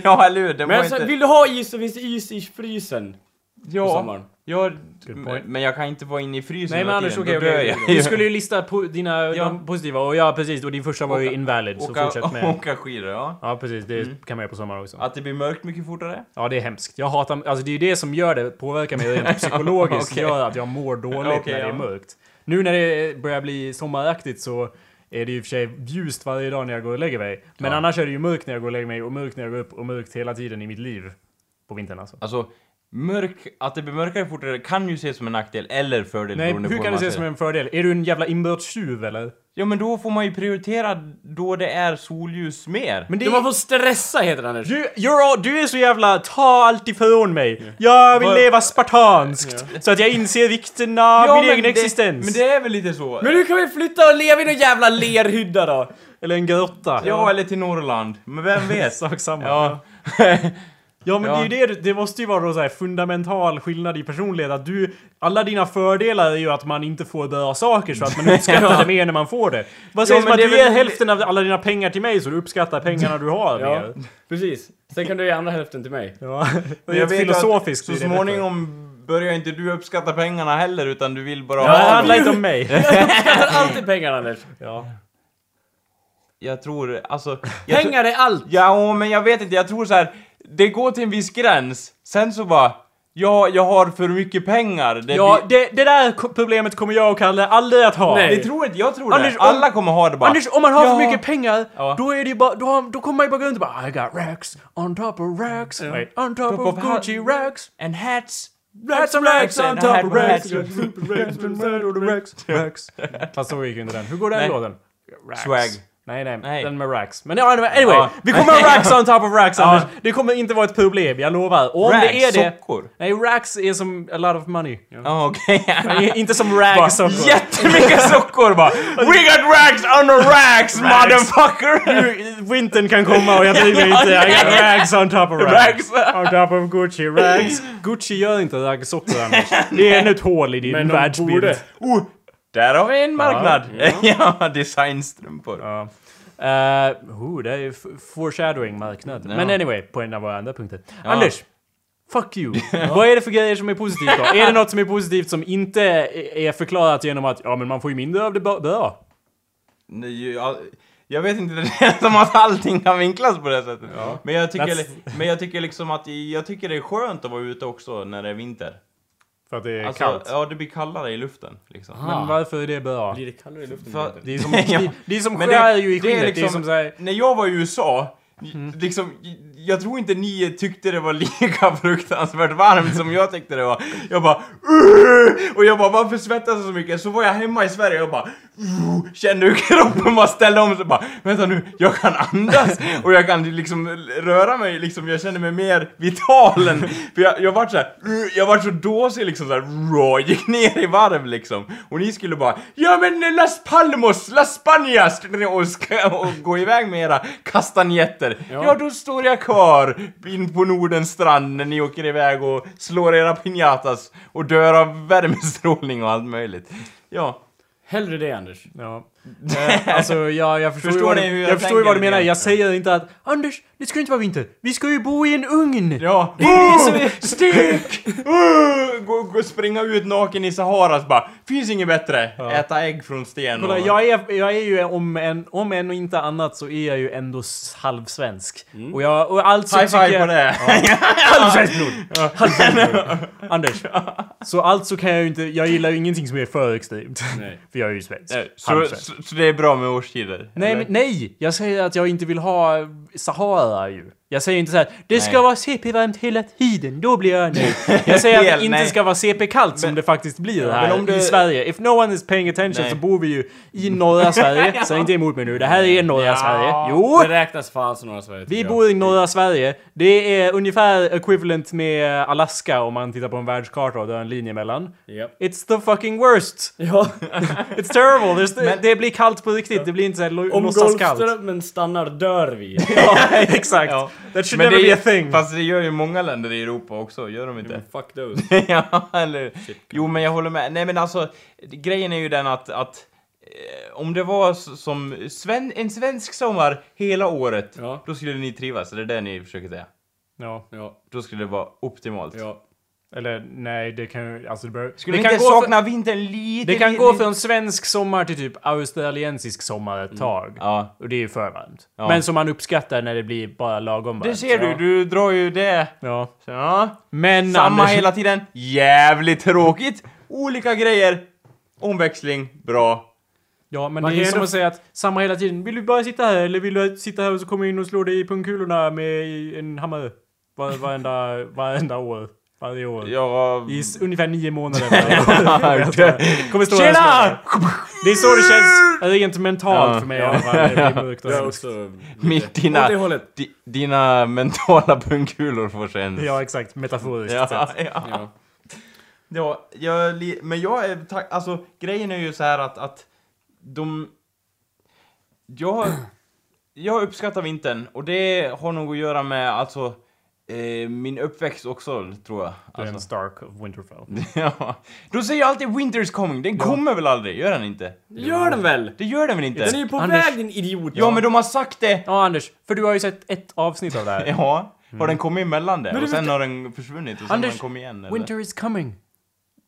Speaker 2: ja eller hur? Det
Speaker 3: Men
Speaker 2: var
Speaker 3: alltså,
Speaker 2: inte...
Speaker 3: vill du ha is så finns det is i frysen på
Speaker 2: ja,
Speaker 3: sommaren.
Speaker 2: ja,
Speaker 1: Good point.
Speaker 2: men jag kan inte vara inne i frysen
Speaker 1: Nej, men
Speaker 2: hela
Speaker 1: Anders,
Speaker 2: tiden,
Speaker 1: okej,
Speaker 2: då dör
Speaker 1: okej.
Speaker 2: jag.
Speaker 1: Du skulle ju lista på dina
Speaker 2: Ja.
Speaker 1: de positiva och ja, precis. Och din första var ju
Speaker 2: Åka-
Speaker 1: invalid, så
Speaker 2: åka, Mm.
Speaker 1: fortsätt med.
Speaker 2: åka skidor, ja.
Speaker 1: Ja, precis. Det kan man göra på sommaren också.
Speaker 2: Att det blir mörkt mycket fortare.
Speaker 1: Ja, det är hemskt. Jag hatar... Alltså, det är ju det som gör det, påverkar mig rent psykologiskt.
Speaker 2: Okej.
Speaker 1: Gör att jag mår dåligt när
Speaker 2: Okej,
Speaker 1: det är
Speaker 2: ja.
Speaker 1: mörkt. Nu när det börjar bli sommaraktigt så är det ju i och för sig ljust varje dag när jag går och lägger mig. Men
Speaker 2: Ja.
Speaker 1: annars är det ju mörkt när jag går och lägger mig och mörkt när jag går upp och mörkt hela tiden i mitt liv. På vintern alltså.
Speaker 2: Alltså, mörk, att det blir mörkare fortare kan ju ses som en nackdel eller fördel
Speaker 1: Nej,
Speaker 2: beroende på
Speaker 1: hur kan
Speaker 2: man
Speaker 1: det ses
Speaker 2: ser
Speaker 1: som en fördel? Är du en jävla inbrottstjuv eller?
Speaker 2: Ja men då får man ju prioritera då det är solljus mer.
Speaker 1: Men det
Speaker 3: Du, man får stressa heter det Anders.
Speaker 1: Du, you're all, du är så jävla ta allt ifrån mig. Jag vill
Speaker 2: Vad-
Speaker 1: leva spartanskt. Så att jag inser vikten av min egen
Speaker 2: det,
Speaker 1: existens.
Speaker 2: Men det är väl lite så?
Speaker 3: Men nu kan vi flytta och leva i någon jävla lerhydda då!
Speaker 1: Eller en grotta.
Speaker 2: Ja, eller till Norrland. Men vem vet?
Speaker 1: sak samma. Ja,
Speaker 2: ja.
Speaker 1: men
Speaker 2: Ja.
Speaker 1: det är ju det. Det måste ju vara då så här fundamental skillnad i personlighet. Att du, alla dina fördelar är ju att man inte får bra saker så att man uppskattar det mer när man får det. Vad sägs
Speaker 2: men
Speaker 1: om att
Speaker 2: det är
Speaker 1: du ger
Speaker 2: väl-
Speaker 1: hälften av alla dina pengar till mig så du uppskattar pengarna du har
Speaker 3: Ja,
Speaker 1: mer?
Speaker 3: precis. Sen kan du ge andra hälften till mig.
Speaker 1: Ja.
Speaker 2: Men
Speaker 1: Det är ett
Speaker 2: vet att
Speaker 1: filosofiskt.
Speaker 2: Så
Speaker 1: det är det
Speaker 2: småningom börjar inte du uppskatta pengarna heller utan du vill bara
Speaker 1: för. Ja, det
Speaker 2: ha
Speaker 1: handlar
Speaker 2: dem.
Speaker 1: inte om mig.
Speaker 3: Jag tar alltid pengar Anders.
Speaker 1: Ja.
Speaker 2: Jag tror, alltså... Jag tror,
Speaker 3: Pengar är allt!
Speaker 2: ja, men jag vet inte, jag tror så här. Det går till en viss gräns, sen så bara... Ja, jag har för mycket pengar. Det,
Speaker 1: Ja, det, det där ko- problemet kommer jag och Kalle aldrig att ha.
Speaker 2: det
Speaker 3: Nej.
Speaker 2: tror inte, jag tror
Speaker 1: Anders,
Speaker 2: det.
Speaker 1: om-
Speaker 2: Alla kommer ha det bara.
Speaker 1: Anders, om man har
Speaker 2: Ja.
Speaker 1: för mycket pengar,
Speaker 2: Ja.
Speaker 1: då är det ju bara, då, har, då kommer man ju bara gå runt och bara I got racks on top of racks,
Speaker 3: Right.
Speaker 1: on top,
Speaker 2: Top
Speaker 1: of
Speaker 2: of
Speaker 1: Gucci racks,
Speaker 2: And hats.
Speaker 1: racks on racks on
Speaker 2: And
Speaker 1: top
Speaker 2: hat-
Speaker 1: of racks.
Speaker 2: hat-
Speaker 1: Fast så gick ju inte den. Hur går den
Speaker 2: Nej.
Speaker 1: låten? Racks.
Speaker 2: Swag.
Speaker 1: Nej, nej,
Speaker 2: Nej.
Speaker 1: den med racks. Men ja, anyway,
Speaker 2: Ja.
Speaker 1: vi kommer ha racks on top of racks
Speaker 2: Ja.
Speaker 1: Anders. Det kommer inte vara ett problem, jag lovar. Och om
Speaker 2: Racks,
Speaker 1: det är det...
Speaker 2: sockor?
Speaker 1: Nej, racks är som a lot of money.
Speaker 2: Ja, okej.
Speaker 1: Nej, Inte som rags sockor.
Speaker 2: Jättemycket sockor bara. We got racks on the racks, motherfucker!
Speaker 1: Nu, Vintern kan komma och jag bryr mig inte. I got rags on top of rags.
Speaker 2: Rags.
Speaker 1: On top of Gucci, rags. Gucci gör inte raggsockor Anders. Det är ännu ett hål i din
Speaker 3: Men de
Speaker 1: världsbild.
Speaker 3: borde.
Speaker 2: Oh, där har vi en marknad! Ja, designstrumpor.
Speaker 1: Ja. Eh, oh, det är ju f- foreshadowing marknad. Men anyway, på en av våra andra punkter. Anders! Fuck you! Vad är det för grejer som är positivt då? är det något som är positivt som inte är förklarat genom att ja men man får ju mindre av det ba- bra?
Speaker 2: Nej, jag, jag vet inte, det känns som att allting kan vinklas på det sättet. Men, jag tycker,
Speaker 1: That's-
Speaker 2: men jag tycker liksom att jag tycker det är skönt att vara ute också när det är vinter.
Speaker 1: För att det är
Speaker 2: Alltså,
Speaker 1: kallt?
Speaker 2: ja, det blir kallare i luften liksom.
Speaker 1: Men varför är det bra?
Speaker 3: Blir det kallare i luften?
Speaker 2: För-
Speaker 1: Det är som,
Speaker 2: Ja.
Speaker 1: det, det är som
Speaker 2: Men det-
Speaker 1: skär ju i
Speaker 2: det är
Speaker 1: skinnet. Det är,
Speaker 2: liksom-
Speaker 1: som såhär...
Speaker 2: När jag var i USA, liksom, jag tror inte ni tyckte det var lika fruktansvärt varmt som jag tyckte det var. Jag bara "Ugh!" och jag bara varför svettas jag så mycket? Så var jag hemma i Sverige och bara "Ugh!" kände hur kroppen bara ställde om sig bara vänta nu, jag kan andas och jag kan liksom röra mig liksom, jag kände mig mer vital än, för jag, jag vart såhär, "Ugh!" jag vart så dåsig liksom såhär, "Ugh!" gick ner i varv liksom. Och ni skulle bara, ja men Las Palmos, Las Spanias och, ska, och gå iväg med era kastanjetter. Ja. då står jag kvar in på Nordens strand när ni åker iväg och slår era piñatas och dör av värmestrålning och allt möjligt. Ja.
Speaker 3: Hellre det Anders.
Speaker 1: Ja. Eh, alltså jag, jag förstår, ju vad,
Speaker 2: Förstår ni
Speaker 1: du,
Speaker 2: hur
Speaker 1: jag
Speaker 2: jag
Speaker 1: förstår ju vad du
Speaker 2: tänker
Speaker 1: menar.
Speaker 2: lite
Speaker 1: Jag
Speaker 2: grann?
Speaker 1: säger inte att Anders, det ska ju inte vara vinter. Vi ska ju bo i en ugn!
Speaker 2: Ja.
Speaker 1: så-
Speaker 2: Oh, stek! Oh, gå, gå, springa ut naken i Sahara så bara, finns inget bättre. Äta ägg från sten
Speaker 1: Kolla, jag är, jag är ju om en, om en och inte annat så är jag ju ändå s- halvsvensk. Och, jag, och alltså
Speaker 2: Mm. High five
Speaker 1: tycker
Speaker 2: på
Speaker 1: jag...
Speaker 2: det!
Speaker 1: Halvsvenskt blod! Ja, halvsvenskt blod. Anders. Så alltså kan jag ju inte... Jag gillar ju ingenting som är för extremt.
Speaker 3: Nej.
Speaker 1: För jag är ju svensk.
Speaker 2: Så,
Speaker 1: Halvsvensk.
Speaker 2: så, så det är bra med årstider?
Speaker 1: Nej,
Speaker 2: eller?
Speaker 1: men, nej! Jag säger att jag inte vill ha Sahara ju. Jag säger inte så här. det ska
Speaker 2: Nej.
Speaker 1: vara CP-varmt hela tiden, då blir jag nöjd. Jag säger att det
Speaker 2: Fel,
Speaker 1: inte
Speaker 2: nej.
Speaker 1: ska vara CP-kallt som det faktiskt blir här
Speaker 2: men om
Speaker 1: i
Speaker 2: du-
Speaker 1: Sverige. If no one is paying attention
Speaker 2: Nej.
Speaker 1: så bor vi ju i norra Sverige. Säg inte emot mig nu, det här är norra Sverige. Jo!
Speaker 3: Det räknas fan som norra Sverige tycker
Speaker 1: Vi
Speaker 3: jag.
Speaker 1: bor i norra Sverige. Det är ungefär equivalent med Alaska om man tittar på en världskarta och det är en linje mellan.
Speaker 3: Japp.
Speaker 1: It's the fucking worst!
Speaker 3: Ja,
Speaker 1: It's terrible! There's the, det blir kallt på riktigt, det blir inte såhär lo-
Speaker 3: om
Speaker 1: låtsaskallt.
Speaker 3: golfströmmen stannar dör vi.
Speaker 1: Ja, exakt.
Speaker 2: Ja.
Speaker 1: That should
Speaker 2: Men
Speaker 1: never
Speaker 2: det
Speaker 1: be
Speaker 2: är,
Speaker 1: a thing.
Speaker 2: Fast det gör ju många länder i Europa också, gör de inte?
Speaker 3: Fuck those.
Speaker 2: ja, eller Jo, men jag håller med. Nej, men alltså, grejen är ju den att, att eh, om det var s- som sven, en svensk sommar hela året,
Speaker 3: Ja.
Speaker 2: då skulle ni trivas. Det är det ni försöker säga.
Speaker 1: Ja,
Speaker 3: Ja,
Speaker 2: Då skulle det vara optimalt.
Speaker 3: ja.
Speaker 1: eller nej, det kan ju... Alltså det bör...
Speaker 2: Skulle
Speaker 1: det
Speaker 2: ni
Speaker 1: kan,
Speaker 2: inte
Speaker 1: gå,
Speaker 2: sakna
Speaker 1: från,
Speaker 2: vintern lite?
Speaker 1: det kan
Speaker 2: lite-
Speaker 1: gå från svensk sommar till typ australiensisk sommar ett tag.
Speaker 2: Mm. Ja.
Speaker 1: Och det är ju för varmt.
Speaker 2: Ja.
Speaker 1: Men som man uppskattar när det blir bara lagom varmt.
Speaker 2: Det ser du, du drar ju det.
Speaker 1: Ja.
Speaker 2: Så, ja.
Speaker 1: Men
Speaker 2: Samma
Speaker 1: Anders,
Speaker 2: hela tiden. Jävligt tråkigt. Olika grejer. Omväxling. Bra.
Speaker 1: Ja, men
Speaker 3: Man
Speaker 1: det är
Speaker 3: kan
Speaker 1: som
Speaker 3: ändå-
Speaker 1: att säga att samma hela tiden. Vill du bara sitta här eller vill du sitta här och så kommer jag in och slår dig i pungkulorna med en hammare? Var, varenda, varenda år. Varje år.
Speaker 2: Jag...
Speaker 1: I s- ungefär nio månader. varje år. kommer stå här och slå dig.
Speaker 2: Tjena!
Speaker 1: Det är så det känns rent mentalt
Speaker 2: Ja.
Speaker 1: för mig i alla fall. när Det blir mörkt och
Speaker 3: Jag är
Speaker 1: hemskt.
Speaker 3: också...
Speaker 2: Mitt,
Speaker 3: Åt
Speaker 2: dina,
Speaker 3: det hållet.
Speaker 2: di, dina mentala pungkulor får sig en...
Speaker 1: Ja, exakt. Metaforiskt
Speaker 2: ja,
Speaker 1: sett.
Speaker 2: ja.
Speaker 3: Ja.
Speaker 2: ja jag, li- men jag är... Ta, alltså, grejen är ju så här att, att de... Jag, jag uppskattar vintern och det har nog att göra med alltså eh, min uppväxt också, tror jag.
Speaker 1: Du är en
Speaker 2: Alltså,
Speaker 1: Stark of Winterfell.
Speaker 2: ja. De säger ju alltid 'Winter's coming', den kommer väl aldrig? Gör den inte?
Speaker 3: Gör den väl!
Speaker 2: Det gör den väl inte?
Speaker 3: Den är ju på
Speaker 1: Anders.
Speaker 3: väg din idiot!
Speaker 2: Ja, men de har sagt det!
Speaker 1: Ja, Anders. För du har ju sett ett avsnitt av det här.
Speaker 2: Ja, har den kommit emellan det?
Speaker 3: du
Speaker 2: Och sen
Speaker 3: vet-
Speaker 2: har den försvunnit och sen har
Speaker 1: Anders,
Speaker 2: den kommit igen? Eller?
Speaker 1: Winter is coming.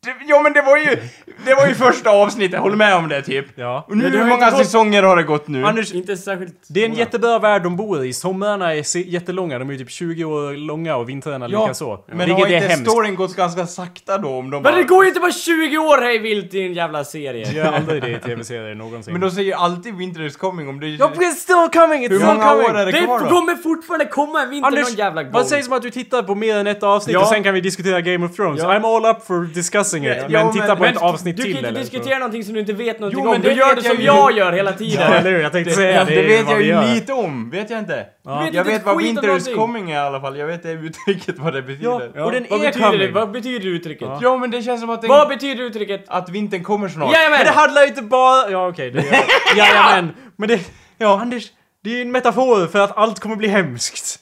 Speaker 2: Det- Ja men det var ju, det var ju första avsnittet, jag håller med om det typ.
Speaker 1: Ja.
Speaker 2: Och nu,
Speaker 3: Men det har
Speaker 2: hur
Speaker 3: inte
Speaker 2: många
Speaker 3: gått-
Speaker 2: säsonger har det gått nu?
Speaker 1: Anders,
Speaker 3: Inte särskilt...
Speaker 1: det är en
Speaker 3: många.
Speaker 1: jättebra värld de bor i. Somrarna är se- jättelånga. De är ju typ 20 år långa och vintrarna
Speaker 2: Ja,
Speaker 1: likaså.
Speaker 2: Men
Speaker 1: Vilket
Speaker 2: har
Speaker 1: är
Speaker 2: inte
Speaker 1: hemskt.
Speaker 2: storyn gått ganska sakta då om de
Speaker 3: Men
Speaker 2: bara...
Speaker 3: det går ju inte bara 20 år hej vilt i en jävla serie!
Speaker 1: Gör aldrig det i tv-serier någonsin.
Speaker 2: Men de säger ju alltid 'Winter is coming' om det...
Speaker 1: Ja, it's still coming! It's
Speaker 2: Hur
Speaker 1: still
Speaker 2: många
Speaker 1: coming!
Speaker 2: år är det
Speaker 3: Det
Speaker 2: kvar då?
Speaker 3: kommer fortfarande komma en vinter någon
Speaker 1: Anders,
Speaker 3: jävla gång!
Speaker 1: vad sägs om att du tittar på mer än ett avsnitt
Speaker 3: Ja.
Speaker 1: och sen kan vi diskutera Game of Thrones? I'm all up for missing it.
Speaker 2: Ja,
Speaker 1: Men
Speaker 2: men-
Speaker 1: titta på
Speaker 2: men
Speaker 1: ett avsnitt
Speaker 3: Du kan
Speaker 1: till
Speaker 3: inte
Speaker 1: eller?
Speaker 3: diskutera någonting som du inte vet någonting
Speaker 2: Jo, men
Speaker 3: om. Du
Speaker 2: det
Speaker 3: gör
Speaker 2: vet
Speaker 3: det
Speaker 2: jag
Speaker 3: som
Speaker 2: ju.
Speaker 3: jag gör hela
Speaker 1: Ja,
Speaker 3: tiden.
Speaker 1: eller hur? Jag tänkte säga
Speaker 2: Det,
Speaker 1: det. är
Speaker 2: vet
Speaker 1: vad
Speaker 2: jag
Speaker 1: vi
Speaker 2: ju
Speaker 1: gör.
Speaker 2: lite om, vet jag inte.
Speaker 3: vet
Speaker 2: jag
Speaker 3: inte
Speaker 2: vet
Speaker 3: ett
Speaker 2: vad
Speaker 3: skit om
Speaker 2: winter is
Speaker 3: någonting.
Speaker 2: coming är i alla fall, jag vet det uttrycket vad det betyder.
Speaker 1: Ja.
Speaker 2: Ja,
Speaker 3: Och den
Speaker 4: Vad
Speaker 3: är
Speaker 4: betyder
Speaker 3: coming.
Speaker 4: det?
Speaker 3: Vad betyder uttrycket?
Speaker 2: men det känns som att, den,
Speaker 3: Vad betyder uttrycket?
Speaker 2: att vintern kommer
Speaker 1: Men
Speaker 2: snart.
Speaker 1: det
Speaker 3: Jajamän!
Speaker 1: handlar ju inte bara... Ja okej, det gör Jajamän! Men det... Ja Anders, det är ju en metafor för att allt kommer bli hemskt.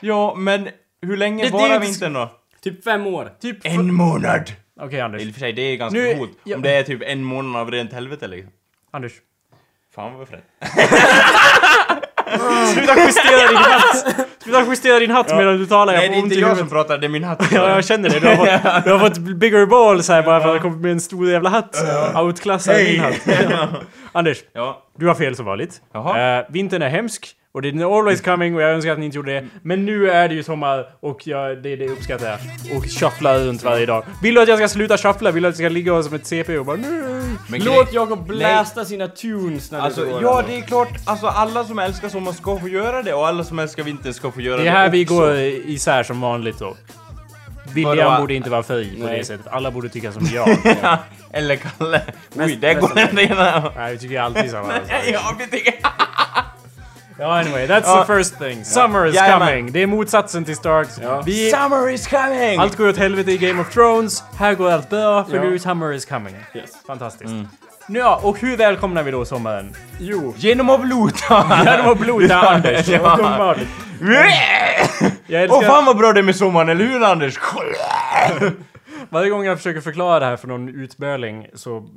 Speaker 2: Ja, men hur länge
Speaker 1: Det- det är
Speaker 2: varar
Speaker 1: inte-
Speaker 2: vintern då?
Speaker 3: Typ fem år.
Speaker 1: Typ... för-
Speaker 2: En månad!
Speaker 1: Okej Anders.
Speaker 2: I och för sig, det är ganska
Speaker 1: Nu-
Speaker 2: coolt.
Speaker 1: ja.
Speaker 2: Om det är typ en månad av rent helvete liksom.
Speaker 1: Anders.
Speaker 2: Fan vad fränt.
Speaker 1: Sluta justera din hatt! Sluta justera din hatt medan du talar.
Speaker 2: Nej,
Speaker 1: Jag
Speaker 2: det
Speaker 1: får
Speaker 2: är
Speaker 1: ont
Speaker 2: inte
Speaker 1: i
Speaker 2: jag
Speaker 1: huvudet.
Speaker 2: som pratar, det är min hatt.
Speaker 1: Ja, jag känner det. Du har fått, du har fått bigger balls här bara för att det kommit med en stor jävla hatt. Outklassad
Speaker 2: Hej.
Speaker 1: min hatt. Ja. Anders,
Speaker 2: Ja.
Speaker 1: du har fel som vanligt.
Speaker 2: Jaha.
Speaker 1: Eh, vintern är hemsk. Och det är always coming och jag önskar att ni inte gjorde det. Men nu är det ju sommar och jag, det, det uppskattar jag. Och shuffla runt varje dag. Vill du att jag ska sluta shuffla? Vill du att jag ska ligga som ett CP och bara nej?
Speaker 2: Men
Speaker 3: Låt Jakob blästa sina tunes när
Speaker 2: Alltså,
Speaker 3: du går.
Speaker 2: ja det är klart, alltså alla som älskar sommar ska få göra det och alla som älskar vintern ska få göra det
Speaker 1: Det är här vi
Speaker 2: också.
Speaker 1: går isär som vanligt då.
Speaker 2: Vadå?
Speaker 1: William borde inte vara fri på det
Speaker 3: Nej.
Speaker 1: sättet. Alla borde tycka som jag.
Speaker 2: Eller Kalle. Oj, där går den rena.
Speaker 1: Nej, vi tycker alltid samma. sak.
Speaker 2: Ja, vi tycker...
Speaker 1: Ja, anyway, that's
Speaker 2: Ja.
Speaker 1: the first thing. Summer is
Speaker 2: Jajamän.
Speaker 1: coming. Det är motsatsen till Starks. Vi,
Speaker 2: Summer is coming!
Speaker 1: allt går åt helvete i Game of Thrones. Här går allt bra, för
Speaker 3: Ja.
Speaker 1: nu summer is coming.
Speaker 3: Yes.
Speaker 1: Fantastiskt.
Speaker 2: Mm.
Speaker 1: Nu, ja, och hur välkomnar vi då sommaren?
Speaker 3: Jo.
Speaker 2: Genom att blota!
Speaker 1: Ja, det var bloda Anders.
Speaker 2: Ja.
Speaker 1: Uppenbarligt. Jag
Speaker 2: Åh
Speaker 1: älskar
Speaker 2: fan vad bra det är med sommaren, eller hur Anders?
Speaker 1: varje gång jag försöker förklara det här för någon utbörling så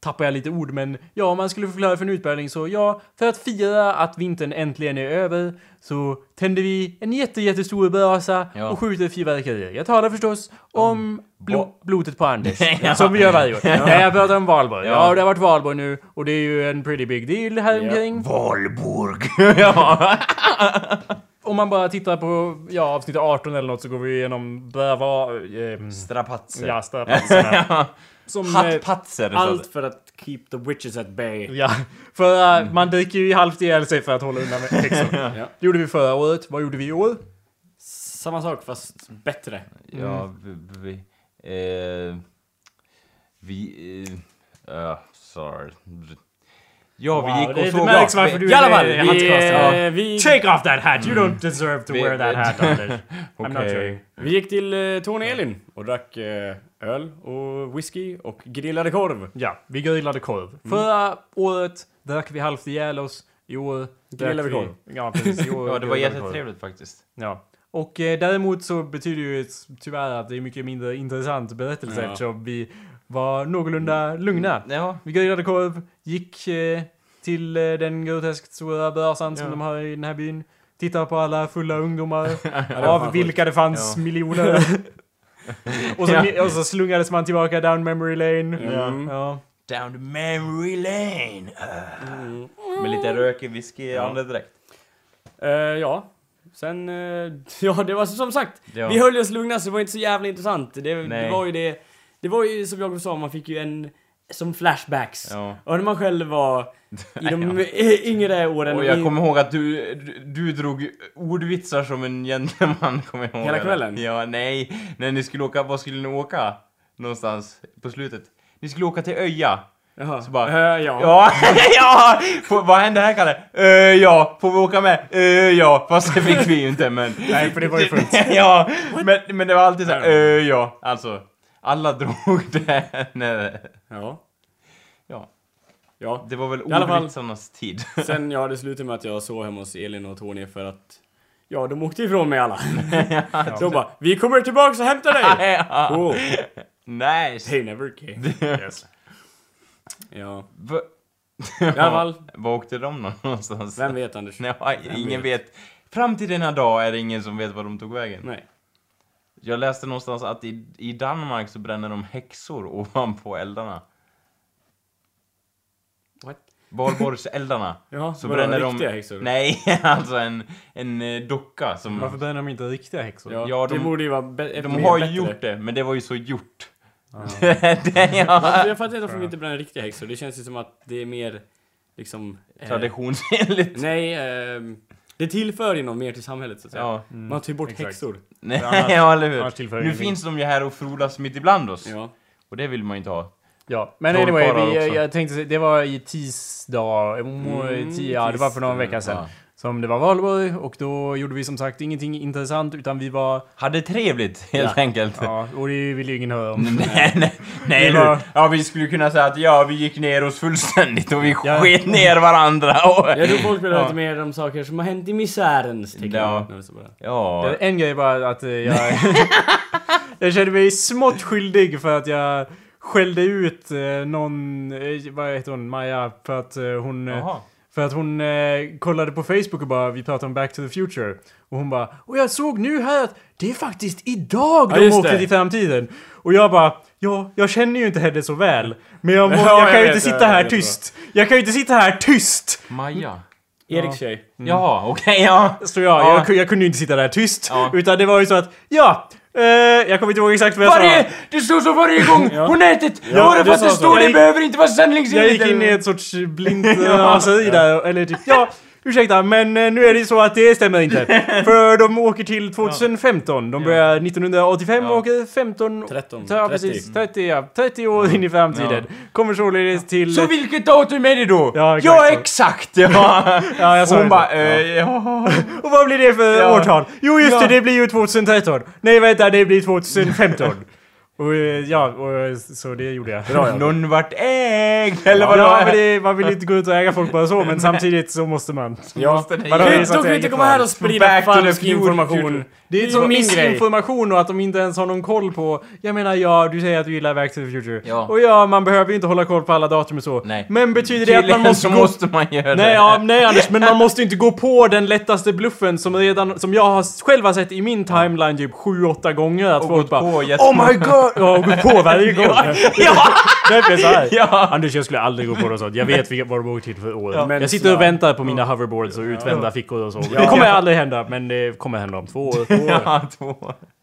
Speaker 1: tappar jag lite ord, men ja, om man skulle förklara för en utbörling så ja, för att fira att vintern äntligen är över så tänder vi en jätte, jättestor brasa
Speaker 2: Ja.
Speaker 1: och skjuter fyrverkerier. Jag talar förstås om blo- blodet på Anders,
Speaker 2: Ja.
Speaker 1: som vi gör varje år. Nej, jag pratar om valborg. Ja.
Speaker 2: Ja.
Speaker 1: det har varit valborg nu och det är ju en pretty big deal här omkring.
Speaker 2: Valborg! ja.
Speaker 1: Om man bara tittar på ja, avsnitt 18 eller något så går vi igenom brava...
Speaker 3: Mm.
Speaker 1: ehm,
Speaker 2: Strapatser.
Speaker 1: ja, strapatserna. Som, eh,
Speaker 2: Hattpatser. så att-
Speaker 3: Allt för att keep the witches at bay.
Speaker 1: Ja, för äh, man dricker ju halvt ihjäl sig för att hålla undan häxor.
Speaker 3: Ja.
Speaker 1: Det gjorde vi förra året. Vad gjorde vi i år?
Speaker 3: Samma sak fast bättre.
Speaker 2: Ja, vi... Vi... Eh, vi eh, ah, sorry. Ja, vi
Speaker 1: Wow,
Speaker 2: gick och
Speaker 1: det- det
Speaker 2: såg
Speaker 1: märks
Speaker 2: av-
Speaker 1: varför du
Speaker 2: vi-
Speaker 3: I alla fall,
Speaker 1: Eh,
Speaker 3: vi,
Speaker 1: handskasten.
Speaker 3: eh, vi,
Speaker 1: Take off that hat! You don't deserve to
Speaker 2: Mm. Vi-
Speaker 1: wear that
Speaker 2: vi-
Speaker 1: hat, Anders. I'm not
Speaker 2: Okej.
Speaker 1: joking.
Speaker 3: vi gick till eh, Tony Elin och drack eh, öl och whisky och grillade korv.
Speaker 1: Ja, vi grillade korv.
Speaker 3: Mm.
Speaker 1: Förra året drack vi halvt ihjäl oss. I år drack
Speaker 3: Grillade korv.
Speaker 1: Ja, precis. I år
Speaker 2: Ja, det var
Speaker 1: grillade korv.
Speaker 2: jättetrevligt faktiskt.
Speaker 1: Ja. Och eh, däremot så betyder ju ett- tyvärr att det är mycket mindre intressant berättelse
Speaker 3: Ja.
Speaker 1: eftersom vi var någorlunda lugna.
Speaker 2: Ja.
Speaker 1: Vi grillade korv, gick eh, till eh, den groteskt stora brasan som de har i den här byn. Tittade på alla fulla ungdomar, av
Speaker 3: fan
Speaker 1: vilka det fanns
Speaker 2: Ja.
Speaker 1: miljoner. och, så, och så slungades man tillbaka down memory lane.
Speaker 3: Mm.
Speaker 1: Ja.
Speaker 2: Down the memory lane. Ah. Med lite rök i whisky i andedräkt.
Speaker 3: Eh, ja. Sen, eh, ja det var som sagt,
Speaker 2: Ja.
Speaker 3: vi höll oss lugna så det var inte så jävla intressant. Det, det
Speaker 2: Nej.
Speaker 3: var ju det, det var ju som Jakob sa, man fick ju en, som flashbacks.
Speaker 2: Ja.
Speaker 3: Och när man själv var i de
Speaker 2: Ja.
Speaker 3: eh, yngre åren,
Speaker 2: Och jag
Speaker 3: i-
Speaker 2: kommer ihåg att du, du, du drog ordvitsar som en gentleman, kommer jag ihåg.
Speaker 3: Hela kvällen?
Speaker 2: Ja, nej. När ni skulle åka, vad skulle ni åka? Någonstans på slutet. Ni skulle åka till Öja.
Speaker 3: Jaha.
Speaker 2: Så bara,
Speaker 3: Eh, ja.
Speaker 2: Ja, ja! Får- vad hände här Kalle? Eh, ja, får vi åka med? Eh, ja, fast det fick vi ju inte men...
Speaker 1: Nej, för det var ju fullt.
Speaker 2: ja, men, men det var alltid såhär, eh, ja, alltså. Alla drog det. Nej,
Speaker 3: ja.
Speaker 2: Ja,
Speaker 3: Ja.
Speaker 2: det var väl
Speaker 3: I alla fall-
Speaker 2: ordvitsarnas tid.
Speaker 3: Sen, ja det slutade med att jag sov hemma hos Elin och Tony för att, ja de åkte ifrån mig alla. de bara, vi kommer tillbaks och hämtar dig!
Speaker 2: Ja.
Speaker 3: oh,
Speaker 2: nice!
Speaker 3: they never came. Ja.
Speaker 2: Va-
Speaker 3: I alla fall,
Speaker 2: Var åkte de nå- någonstans?
Speaker 3: vem vet Anders?
Speaker 2: Nej, ingen vet. Fram till denna dag är det ingen som vet var de tog vägen.
Speaker 3: Nej.
Speaker 2: Jag läste någonstans att i, i Danmark så bränner de häxor ovanpå eldarna.
Speaker 3: What?
Speaker 2: Valborgseldarna.
Speaker 3: Ja,
Speaker 2: så
Speaker 3: vadå,
Speaker 2: bränner
Speaker 3: riktiga
Speaker 2: de...
Speaker 3: häxor?
Speaker 2: Nej, alltså en, en eh, docka som...
Speaker 1: Varför bränner de inte riktiga häxor?
Speaker 3: Ja,
Speaker 2: Ja,
Speaker 3: det
Speaker 2: de-
Speaker 3: borde ju vara bä-
Speaker 2: De
Speaker 3: mer
Speaker 2: har
Speaker 3: bättre. Ah.
Speaker 2: ju gjort det, men det var ju så gjort. det är
Speaker 3: Varför-
Speaker 2: ja,
Speaker 3: Jag fattar inte varför de inte bränner riktiga häxor. Det känns ju som att det är mer liksom... eh,
Speaker 2: traditionsenligt.
Speaker 3: Nej, ehm, Det tillför ju något mer till samhället så att säga.
Speaker 2: Ja.
Speaker 1: Mm.
Speaker 3: Man tar ju bort
Speaker 1: exakt.
Speaker 3: häxor.
Speaker 2: Nej,
Speaker 1: annars-
Speaker 2: ja, eller
Speaker 1: annars
Speaker 2: hur?
Speaker 1: tillför
Speaker 2: Nu
Speaker 1: ingenting.
Speaker 2: finns de ju här och frodas mitt ibland oss.
Speaker 3: Ja.
Speaker 2: Och det vill man ju inte ha.
Speaker 1: Ja, men
Speaker 2: Trollkarlar
Speaker 1: anyway, vi,
Speaker 2: också.
Speaker 1: jag tänkte, det var i tisdag, mm, tia, ja, det var för någon
Speaker 3: tisdag,
Speaker 1: vecka sedan,
Speaker 2: ja.
Speaker 1: som det var valborg och då gjorde vi som sagt ingenting intressant utan vi var,
Speaker 2: Hade trevligt, helt
Speaker 1: Ja.
Speaker 2: enkelt.
Speaker 1: ja, och det vill ju ingen höra om.
Speaker 2: Nej, nej, nej
Speaker 1: Det var-
Speaker 2: du. Ja, vi skulle kunna säga att ja, vi gick ner oss fullständigt och vi
Speaker 1: Ja.
Speaker 2: sket ner varandra och...
Speaker 3: Jag tror folk vill höra
Speaker 2: Ja.
Speaker 3: lite mer om saker som har hänt i misärens tecken.
Speaker 2: Ja.
Speaker 3: Nej, så bara.
Speaker 2: Ja.
Speaker 1: En grej bara att eh, jag, jag kände mig smått skyldig för att jag skällde ut eh, någon, eh, vad heter hon, Maja, för att eh, hon... eh,
Speaker 2: Jaha.
Speaker 1: För att hon eh, kollade på Facebook och bara, vi pratade om Back to the Future. Och hon bara, och jag såg nu här att det är faktiskt idag
Speaker 3: Ja,
Speaker 1: de
Speaker 3: just
Speaker 1: åkte
Speaker 3: det.
Speaker 1: till framtiden. Och jag bara, ja, jag känner ju inte henne så väl. Men jag, må,
Speaker 3: Ja,
Speaker 1: jag
Speaker 3: jag
Speaker 1: kan ju
Speaker 3: vet,
Speaker 1: inte
Speaker 3: jag
Speaker 1: sitta här
Speaker 3: vet vad.
Speaker 1: tyst. Jag kan ju inte sitta här tyst!
Speaker 2: Maja.
Speaker 3: Eriks tjej.
Speaker 2: Jaha, okej, ja.
Speaker 1: Mm. Så jag,
Speaker 2: Ja.
Speaker 1: jag, ku- jag kunde ju inte sitta där tyst.
Speaker 2: Ja.
Speaker 1: Utan det var ju så att, ja, eh, jag kommer inte ihåg exakt vad jag sa.
Speaker 2: Varje, det står så varje gång på nätet!
Speaker 1: Ja,
Speaker 2: Bara
Speaker 1: du
Speaker 2: för att
Speaker 1: sa
Speaker 2: det
Speaker 1: så.
Speaker 2: står,
Speaker 1: Jag
Speaker 2: det
Speaker 1: gick-
Speaker 2: behöver inte vara
Speaker 1: Jag
Speaker 2: sanningsenligt!
Speaker 1: gick in i ett sorts blint eh, raseri där, eller typ ja, ursäkta men eh, nu är det så att det stämmer inte. För de åker till 2015, de börjar 1985 och åker 15...
Speaker 3: 13,
Speaker 1: Ja, precis. 30, ja, 30 år in i framtiden. Kommer således till...
Speaker 2: Så vilket datum är det då?
Speaker 1: Ja, exakt
Speaker 2: ja,
Speaker 1: så.
Speaker 2: exakt! Ja.
Speaker 1: Ja, jag sa
Speaker 2: Hon
Speaker 1: det.
Speaker 2: bara, eh, ja.
Speaker 1: Och vad blir det för
Speaker 2: Ja.
Speaker 1: årtal? Jo just
Speaker 2: Ja.
Speaker 1: det, det blir ju 2013. Nej vänta, det blir 2015. och eh, ja, och, så det gjorde jag.
Speaker 2: Någon vart ägd, eller vadå?
Speaker 1: Ja, men det, man vill ju inte gå ut och äga folk bara så, men samtidigt så måste man.
Speaker 3: Ja.
Speaker 1: Man har ju så att
Speaker 3: Då
Speaker 1: säga
Speaker 3: kan vi inte
Speaker 1: inget
Speaker 3: komma
Speaker 1: val.
Speaker 3: här och sprida
Speaker 2: Back to the
Speaker 3: falsk
Speaker 2: future.
Speaker 3: information.
Speaker 1: Det är
Speaker 3: ju
Speaker 1: så missinformation och att de inte ens har någon koll på... Jag menar, ja, du säger att du gillar Back to the Future.
Speaker 2: Ja.
Speaker 1: Och ja, man behöver ju inte hålla koll på alla datum och så.
Speaker 2: Nej.
Speaker 1: Men betyder det att man
Speaker 2: Tydligen
Speaker 1: måste
Speaker 2: så
Speaker 1: gå...
Speaker 2: måste man göra det.
Speaker 1: Nej, ja, nej Anders, men man måste ju inte gå på den lättaste bluffen som, redan, som jag har själv har sett i min timeline typ 7-8 gånger. Att
Speaker 2: Och
Speaker 1: folk
Speaker 2: gått
Speaker 1: bara
Speaker 2: på
Speaker 1: Oh my god! Ja, och gått på varje gång. ja, Därför är det så här.
Speaker 2: Ja.
Speaker 1: Anders, jag skulle aldrig gå på något sånt. Jag vet vilka- vad de åker till för år.
Speaker 3: Men
Speaker 1: jag sitter
Speaker 3: snälla.
Speaker 1: och väntar på mina hoverboards och utvända fickor och så. Det kommer aldrig hända, men det kommer hända om två år.
Speaker 2: Ja, två.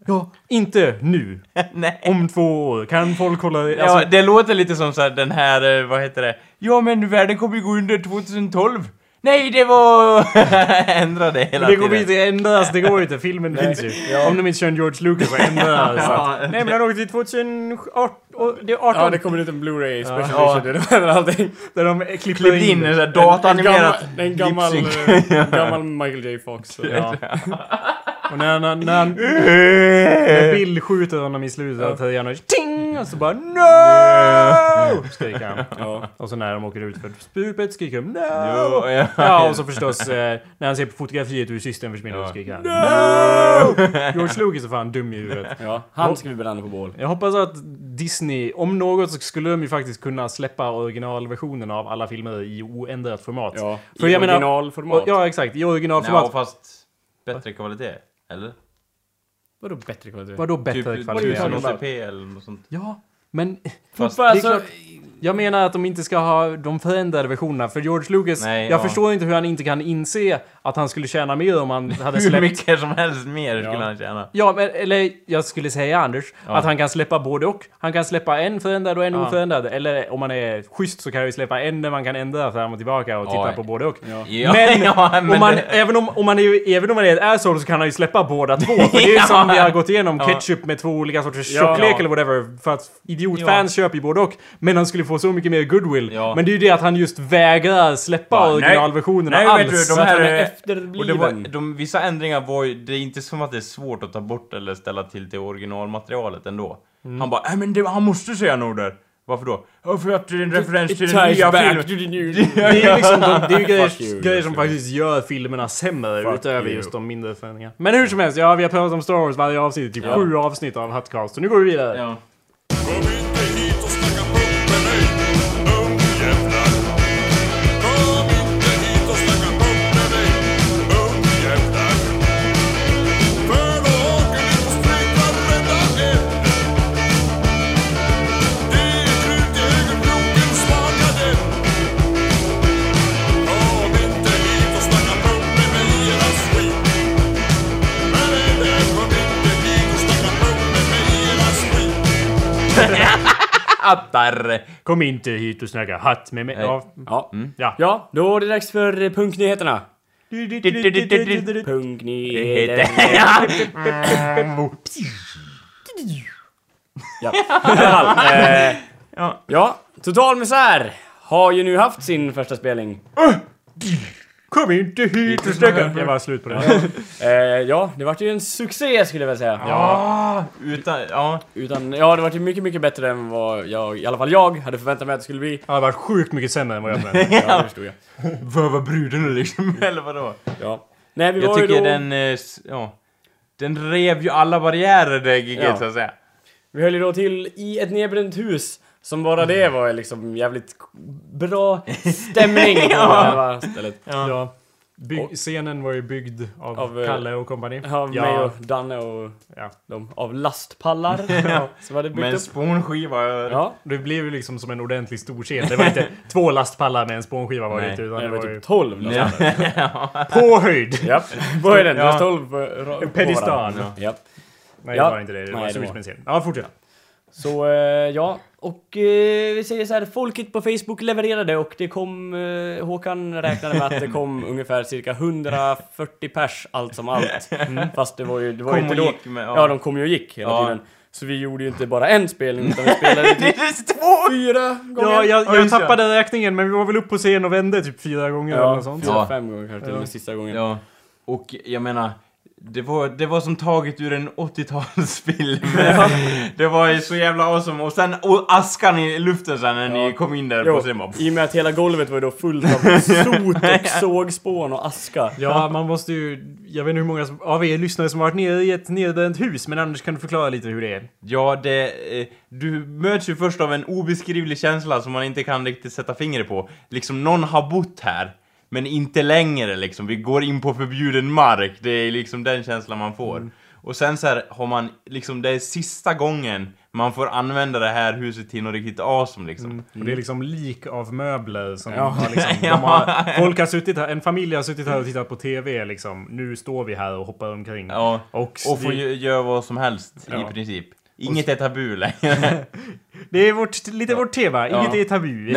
Speaker 1: Ja, inte nu.
Speaker 2: Nej.
Speaker 1: Om två år. Kan folk kolla... Alltså,
Speaker 2: Ja, det låter lite som så här, den här, eh, vad heter det? Ja men världen kommer ju gå under 2012. Nej, det var... Ändra det hela
Speaker 1: det går
Speaker 2: tiden.
Speaker 1: inte ändras, det går inte. Filmen finns ju. Om de inte kör en George Lucas och ändrar. så att- Nej men han åkte till 2018, och det är 18
Speaker 3: Ja, det kommer ut en Blu-ray special
Speaker 2: Ja.
Speaker 3: edition. Det var allting.
Speaker 1: där de klipper
Speaker 2: Klipp
Speaker 1: in.
Speaker 2: in en sån här
Speaker 3: En gammal,
Speaker 2: dataanimerat
Speaker 3: en gammal,
Speaker 2: lip-sync.
Speaker 3: eh, en gammal Michael J Fox.
Speaker 1: Ja. Och när, när, när, han- när Bill skjuter honom i slutet av tröjan och ting! Och så bara no! Skriker han.
Speaker 3: Ja.
Speaker 1: Och så när de åker ut för stupet skriker de no!
Speaker 2: Jo, ja.
Speaker 1: Ja och så förstås eh, när han ser på fotografiet hur systern försvinner
Speaker 2: Ja.
Speaker 1: så skriker han no! George Lucas är fan dum i huvudet.
Speaker 3: Ja, han ska vi bränna på bål.
Speaker 1: Jag hoppas att Disney, om något så skulle de ju faktiskt kunna släppa originalversionen av alla filmer i oändrat format.
Speaker 3: Ja,
Speaker 1: För
Speaker 3: i
Speaker 1: jag menar-
Speaker 3: originalformat.
Speaker 1: Ja exakt, i
Speaker 2: Ja,
Speaker 1: originalformat.
Speaker 2: fast bättre kvalitet. Eller?
Speaker 3: Vadå bättre kvalitet?
Speaker 1: Vadå bättre
Speaker 2: typ
Speaker 1: kvalitet?
Speaker 2: 1080p eller något sånt.
Speaker 1: Ja, men
Speaker 2: Fast,
Speaker 1: det är
Speaker 3: Alltså,
Speaker 1: klart, jag menar att de inte ska ha de förändrade versionerna. För George Lucas,
Speaker 2: Nej,
Speaker 1: jag
Speaker 2: ja.
Speaker 1: förstår inte hur han inte kan inse att han skulle tjäna mer om han hade
Speaker 2: hur
Speaker 1: släppt...
Speaker 2: mycket som helst mer skulle han tjäna.
Speaker 1: Ja, men, eller jag skulle säga Anders, att han kan släppa både och. Han kan släppa en förändrad och en oförändrad. Eller om man är schysst så kan han ju släppa en där man kan ändra fram och tillbaka och titta på både och.
Speaker 2: Ja,
Speaker 1: Men,
Speaker 2: ja,
Speaker 1: om man,
Speaker 2: det-
Speaker 1: även, om, om man är, även om man är ett asshole så kan han ju släppa båda två. För det är ju
Speaker 2: Ja.
Speaker 1: som vi har gått igenom, ketchup med två olika sorters tjocklek
Speaker 2: Ja.
Speaker 1: eller whatever. För att idiotfans köper ju både och. Men han skulle få så mycket mer goodwill.
Speaker 2: Ja.
Speaker 1: Men det är ju det att han just vägrar släppa
Speaker 2: Bara, nej.
Speaker 1: originalversionerna
Speaker 2: Nej, vet
Speaker 1: alls.
Speaker 2: du, de
Speaker 3: att
Speaker 2: här
Speaker 3: han är
Speaker 2: eh,
Speaker 3: efterbliven.
Speaker 2: och det var, de, Vissa ändringar var ju, det är inte som att det är svårt att ta bort eller ställa till till originalmaterialet ändå.
Speaker 3: Mm.
Speaker 2: Han bara, nej men det, han måste säga något där. Varför då? Ja, för att det är en referens
Speaker 3: It
Speaker 2: till den
Speaker 3: ties
Speaker 2: nya
Speaker 3: back to
Speaker 2: filmen.
Speaker 3: the new...
Speaker 1: Det är ju liksom de, det är ju
Speaker 3: Fuck you,
Speaker 1: grejer, grejer som
Speaker 3: Josef.
Speaker 1: faktiskt gör filmerna sämre
Speaker 3: Fuck
Speaker 1: utöver
Speaker 3: you.
Speaker 1: just de mindre förändringarna. Men hur som helst, ja vi har pratat om Star Wars varje avsnitt, typ sju avsnitt av Hutcast. Så nu går vi vidare.
Speaker 2: Ja.
Speaker 5: Kom inte hit och snacka puppen nu, ungjävlar. Kom inte hit och snacka puppen nu, ungjävlar. För då åker ni på stryk varenda en. Det är krut i högerkroken, smaka den. Kom inte hit och snacka puppen nu, era skit. Men det där, kom inte hit och snacka puppen nu, era skit.
Speaker 2: Attar!
Speaker 1: Kom inte hit och snacka hatt med mig. Ja.
Speaker 3: Ja.
Speaker 1: Ja.
Speaker 3: ja, då är det dags för eh, punknyheterna. Punknyheter. ja. i alla fall, eh,
Speaker 2: Ja.
Speaker 3: ja, Total Misär har ju nu haft sin första spelning.
Speaker 1: Kom inte hit och stöka! Jag var slut på det.
Speaker 3: Eh, ja, det vart ju en succé skulle jag vilja säga.
Speaker 2: Ja, Ah, utan, ja.
Speaker 3: Utan, ja, det vart ju mycket, mycket bättre än vad jag, i alla fall jag, hade förväntat mig att det skulle bli.
Speaker 1: Ja, det var sjukt mycket sämre än vad jag förväntade
Speaker 3: Ja, det förstod jag.
Speaker 2: Vöva brudarna liksom, eller vadå?
Speaker 3: Ja. Nej, vi
Speaker 2: Jag
Speaker 3: var ju
Speaker 2: tycker
Speaker 3: då...
Speaker 2: den, eh, s- ja. Den rev ju alla barriärer, det giget
Speaker 3: Ja.
Speaker 2: så att säga.
Speaker 3: Vi höll ju då till i ett nedbränt hus som bara det
Speaker 2: Mm.
Speaker 3: var liksom jävligt bra stämning på
Speaker 2: Ja.
Speaker 3: ja. stället.
Speaker 1: Ja. Bygg,
Speaker 3: Och-
Speaker 1: Scenen var ju byggd av,
Speaker 3: Av, eh,
Speaker 1: Kalle och kompani.
Speaker 3: Av mig och Danne och
Speaker 1: Ja.
Speaker 3: de av lastpallar som hade byggt
Speaker 2: Med en
Speaker 3: upp.
Speaker 2: spånskiva.
Speaker 3: Ja,
Speaker 1: Det blev ju liksom som en ordentlig stor scen. Det var inte två lastpallar med en spånskiva var det
Speaker 2: Nej.
Speaker 1: inte, utan
Speaker 3: det
Speaker 1: det
Speaker 3: var
Speaker 1: var ju
Speaker 3: typ 12
Speaker 2: Ja.
Speaker 3: lastpallar.
Speaker 1: på höjd!
Speaker 3: Japp, vad är den? Det
Speaker 2: Ja.
Speaker 3: var 12 på, ra- på
Speaker 1: pedestal.
Speaker 3: varandra. Japp.
Speaker 1: Nej,
Speaker 3: Ja.
Speaker 1: det var inte det. Det var
Speaker 3: Nej, det
Speaker 1: stort
Speaker 3: var-
Speaker 1: med en scen. Ja, fortsätt.
Speaker 3: Så eh, ja, och eh, vi säger så här, folket på Facebook levererade och det kom, eh, Håkan räknade med att det kom ungefär cirka 140 pers allt som allt. Fast det var ju, det var ju
Speaker 2: Mm. Kom
Speaker 3: inte
Speaker 2: och
Speaker 3: då,
Speaker 2: gick med-
Speaker 3: ja.
Speaker 2: ja.
Speaker 3: de kom ju och gick hela
Speaker 2: Ja.
Speaker 3: tiden. Så vi gjorde ju inte bara en spelning utan vi spelade
Speaker 2: Det
Speaker 3: typ
Speaker 2: är två!
Speaker 3: fyra gånger.
Speaker 1: Ja, jag,
Speaker 2: Ja,
Speaker 1: jag
Speaker 2: just det.
Speaker 1: tappade räkningen men vi var väl upp på scen och vände typ fyra gånger eller
Speaker 3: Ja,
Speaker 1: något sånt.
Speaker 3: fyra,
Speaker 2: Ja.
Speaker 3: Typ fem gånger kanske till och med sista gången.
Speaker 2: Ja, och jag menar, det var, det var som taget ur en 80-talsfilm. det var ju så jävla awesome. Och sen och askan i luften sen när ni kom in där
Speaker 3: Jo,
Speaker 2: på scenen. bara, pff.
Speaker 3: I och med att hela golvet var ju då fullt av sot och sågspån och aska.
Speaker 1: Ja, man måste ju... Jag vet inte hur många som, av er lyssnare som har varit nere i ett nedbränt hus, men Anders kan du förklara lite hur det är?
Speaker 2: Ja, det... Eh, du möts ju först av en obeskrivlig känsla som man inte kan riktigt sätta fingret på. Liksom, någon har bott här. Men inte längre liksom, vi går in på förbjuden mark. Det är liksom den känslan man får. Och sen så här har man liksom, det är sista gången man får använda det här huset till något riktigt awesome liksom.
Speaker 1: Och det är liksom lik av möbler som
Speaker 3: Ja.
Speaker 1: har liksom... De har, folk har suttit här, en familj har suttit här och tittat på TV liksom. Nu står vi här och hoppar omkring.
Speaker 2: Ja,
Speaker 1: Och,
Speaker 2: och får
Speaker 1: det,
Speaker 2: ju göra vad som helst
Speaker 1: Ja.
Speaker 2: i princip. Inget är tabu längre.
Speaker 1: det är vårt, lite vårt tema,
Speaker 2: Ja.
Speaker 1: inget är tabu.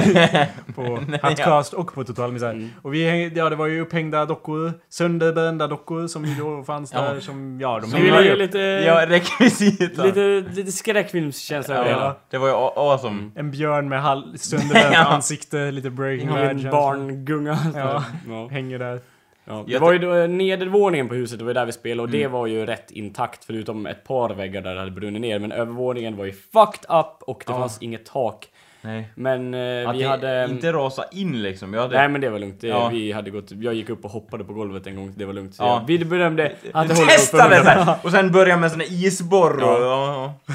Speaker 1: på Hatcast och på Total Misär. Och vi, häng- ja det var ju upphängda dockor, sönderbrända dockor som ju då fanns
Speaker 2: Ja.
Speaker 1: där som, ja de
Speaker 3: Vi ville
Speaker 1: hängde
Speaker 3: ju
Speaker 1: upp.
Speaker 3: lite,
Speaker 2: ja, rekvisita.
Speaker 3: lite, lite skräckfilmskänsla över det Mm. hela.
Speaker 2: Ja, det var ju a- awesome.
Speaker 1: En björn med hal- sönderbränt
Speaker 2: Ja.
Speaker 1: ansikte, lite breaking bad
Speaker 3: En
Speaker 1: känsla.
Speaker 3: barngunga.
Speaker 1: Ja.
Speaker 3: Ja. Ja.
Speaker 1: Hänger där.
Speaker 3: Det var ju då eh, nedervåningen på huset, det var ju där vi spelade och det var ju rätt intakt förutom ett par väggar där det hade brunnit ner. Men övervåningen var ju fucked up och det fanns inget tak.
Speaker 2: Nej.
Speaker 3: Men eh,
Speaker 2: Att
Speaker 3: vi
Speaker 2: det
Speaker 3: hade...
Speaker 2: inte rasa in liksom. Jag hade...
Speaker 3: Nej men det var lugnt, det,
Speaker 2: Ja.
Speaker 3: vi hade gått, jag gick upp och hoppade på golvet en gång, det var lugnt. Så
Speaker 2: Ja.
Speaker 3: jag- Vi bedömde att det håller upp för
Speaker 2: Testade
Speaker 3: 100.
Speaker 2: sen! Och sen börja med såna isborr och... Ja. ja.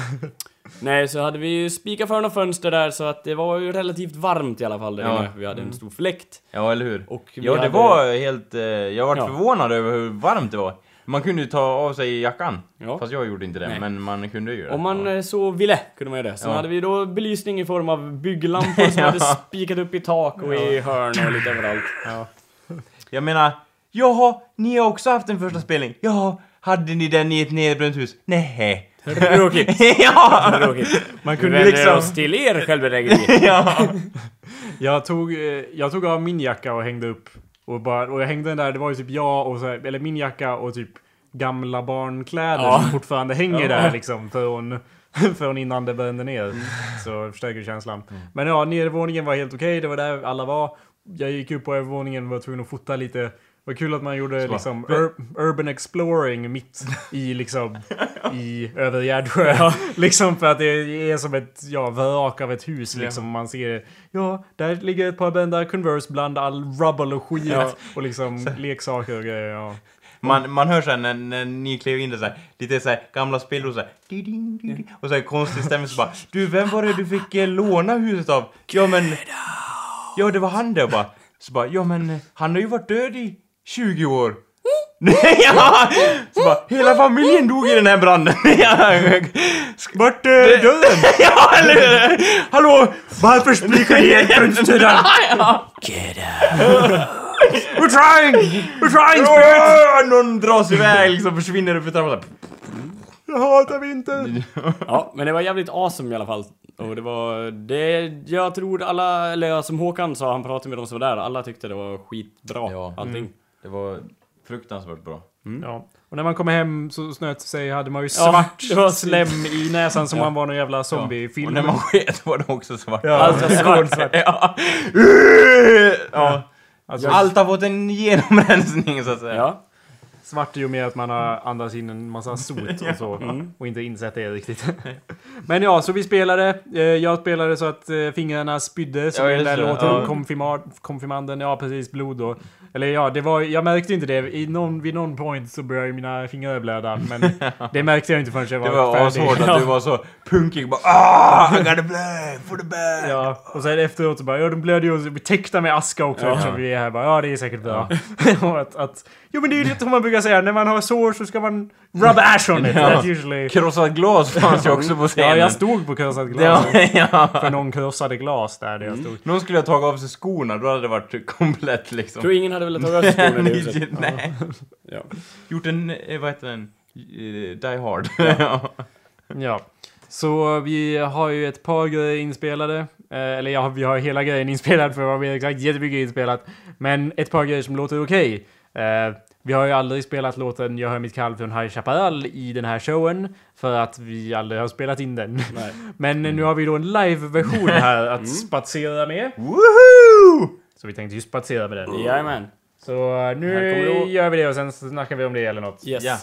Speaker 3: Nej, så hade vi ju spikat för några fönster där så att det var ju relativt varmt i alla fall där
Speaker 2: Ja. Mm.
Speaker 3: inne. Vi hade en stor fläkt.
Speaker 2: ja, eller hur?
Speaker 3: Och vi
Speaker 2: ja, det
Speaker 3: hade-
Speaker 2: var helt... Eh, jag var
Speaker 3: Ja.
Speaker 2: förvånad över hur varmt det var. Man kunde ju ta av sig jackan.
Speaker 3: Ja.
Speaker 2: Fast jag gjorde inte det,
Speaker 3: Nej.
Speaker 2: men man kunde ju göra det.
Speaker 3: Om man eh, så ville kunde man göra det. Sen
Speaker 2: Ja.
Speaker 3: hade vi då belysning i form av bygglampor som hade spikat upp i tak och i hörn och lite överallt.
Speaker 2: Jag menar, jaha, ni har också haft en första spelning. Jaha, hade ni den i ett nedbränt hus? Nej.
Speaker 3: Tråkigt.
Speaker 2: ja!
Speaker 3: Tråkigt. Man
Speaker 2: kunde
Speaker 3: kunde liksom...
Speaker 2: liksom-
Speaker 3: oss till er självbedrägeri.
Speaker 2: ja!
Speaker 1: Jag tog, eh, jag tog av min jacka och hängde upp. Och, bara, och jag hängde den där, det var ju typ jag och så här, eller min jacka och typ gamla barnkläder
Speaker 3: Ja.
Speaker 1: som fortfarande hänger där liksom från, från innan det brände ner. Så förstärker känslan. Men ja, nedervåningen var helt okej, det var där alla var. Jag gick upp på övervåningen och var tvungen att fota lite. Vad kul att man gjorde
Speaker 2: bara,
Speaker 1: liksom ur, urban exploring mitt i liksom i över Gärdsjö. liksom för att det är som ett ja, vrak av ett hus liksom. Man ser ja, där ligger ett par bända Converse bland all rubble och skit och liksom leksaker och grejer. Ja.
Speaker 2: Man, man hör såhär när, när ni klev in där såhär, lite såhär gamla spillror såhär, di-ding, di-ding, och såhär konstig stämning så bara Du, vem var det du fick eh, låna huset av? Ja men... Ja, det var han där bara. Så bara, ja men eh, han har ju varit död i 20 år. Nej, ja! Så bara, hela familjen dog i den här branden. Vart är döden? ja, eller hur? Hallå! Varför spricker ni helt fönstren? We're trying! We're trying spirits! Någon dras iväg liksom, försvinner upp i trappan.
Speaker 1: Jag hatar
Speaker 2: Mm.
Speaker 1: vintern!
Speaker 3: Ja, men det var jävligt awesome i alla fall. Och det var... Det, jag tror alla... Eller ja, som Håkan sa, han pratade med de som var där. Alla tyckte det var skitbra,
Speaker 2: Ja.
Speaker 3: allting.
Speaker 2: Det var fruktansvärt bra.
Speaker 1: Ja. Och när man kom hem så snöt sig hade man ju
Speaker 3: Ja,
Speaker 1: svart
Speaker 3: det var
Speaker 1: slem i näsan som
Speaker 3: Ja.
Speaker 1: man var någon jävla
Speaker 2: Och
Speaker 1: zombiefilm.
Speaker 2: när man sket var de också svarta.
Speaker 1: Ja.
Speaker 3: Allt var Alltså, svart.
Speaker 2: Ja. ja.
Speaker 1: Alltså,
Speaker 2: Allt har fått en genomrensning så att säga.
Speaker 3: Ja.
Speaker 1: Svart är ju mer att man har andats in en massa sot och så.
Speaker 2: Mm.
Speaker 1: Och inte insett det riktigt. Men ja, så vi spelade. Eh, Jag spelade så att eh, fingrarna spydde. Som
Speaker 2: Ja,
Speaker 1: i den
Speaker 2: just
Speaker 1: där
Speaker 2: det.
Speaker 1: låten
Speaker 2: Ja.
Speaker 1: konfirmad, konfirmanden. Ja, precis. Blod då. Eller ja, det var, jag märkte inte det. I någon, vid någon point så började mina fingrar blöda. Men det märkte jag inte förrän jag var,
Speaker 2: Det var
Speaker 1: färdig.
Speaker 2: ashårt att du var så punkig bara ah, I gotta play for the bad.
Speaker 1: Ja, och sen efteråt så bara ja, de blöder ju och så blir täckta med aska också eftersom vi är här bara ja det är säkert bra. och att, att, jo men det är ju det som man brukar säga, när man har sår så ska man rub ash on it.
Speaker 2: Ja.
Speaker 1: That's usually...
Speaker 2: Krossat glas fanns ju också på scenen.
Speaker 1: Ja, jag stod på krossat glas.
Speaker 2: Ja, Mm. ja.
Speaker 1: För någon krossade glas där, där jag stod.
Speaker 2: Någon skulle ha tagit av sig skorna, då hade det varit komplett liksom.
Speaker 3: Tror ingen hade velat ta röstskolan i huset.
Speaker 2: Nej, nej.
Speaker 3: Ja.
Speaker 2: Gjort en, eh, vad heter den? Eh, Die Hard. Ja.
Speaker 1: Ja. Så vi har ju ett par grejer inspelade. Eh, eller ja, vi har hela grejen inspelad för att vara mer exakt. Jättemycket inspelat. Men ett par grejer som låter okej. Eh, vi har ju aldrig spelat låten Jag hör mitt kall från High Chaparral i den här showen. För att vi aldrig har spelat in den.
Speaker 3: Nej. Mm.
Speaker 1: Men nu har vi då en live-version här att spatsera med.
Speaker 2: Woohoo!
Speaker 1: Så vi tänkte ju spatsera med den.
Speaker 3: Jajamän.
Speaker 1: Så eh,
Speaker 3: Mm. Här
Speaker 1: nu
Speaker 3: kommer då-
Speaker 1: gör vi det och sen snackar vi om det eller något.
Speaker 3: Yes.
Speaker 2: Ja.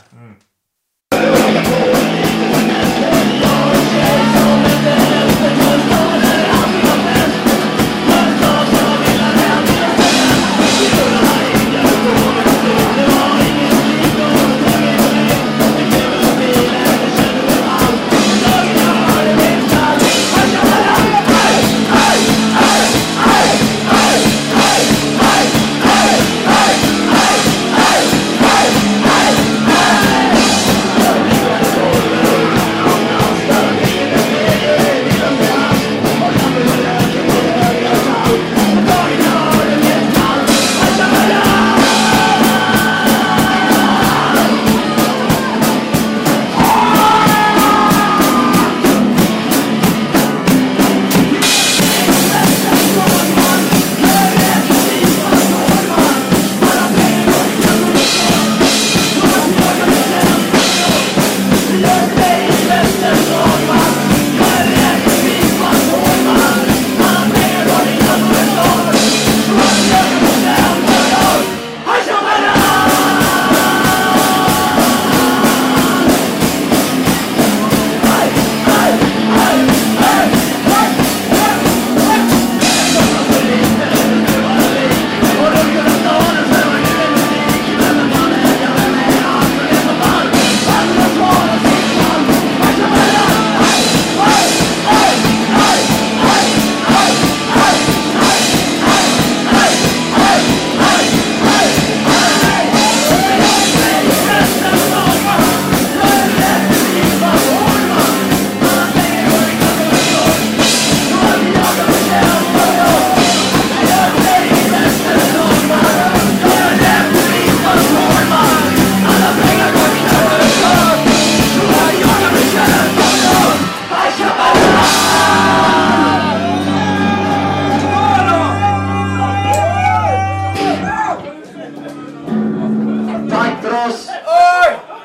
Speaker 6: Tack för oss!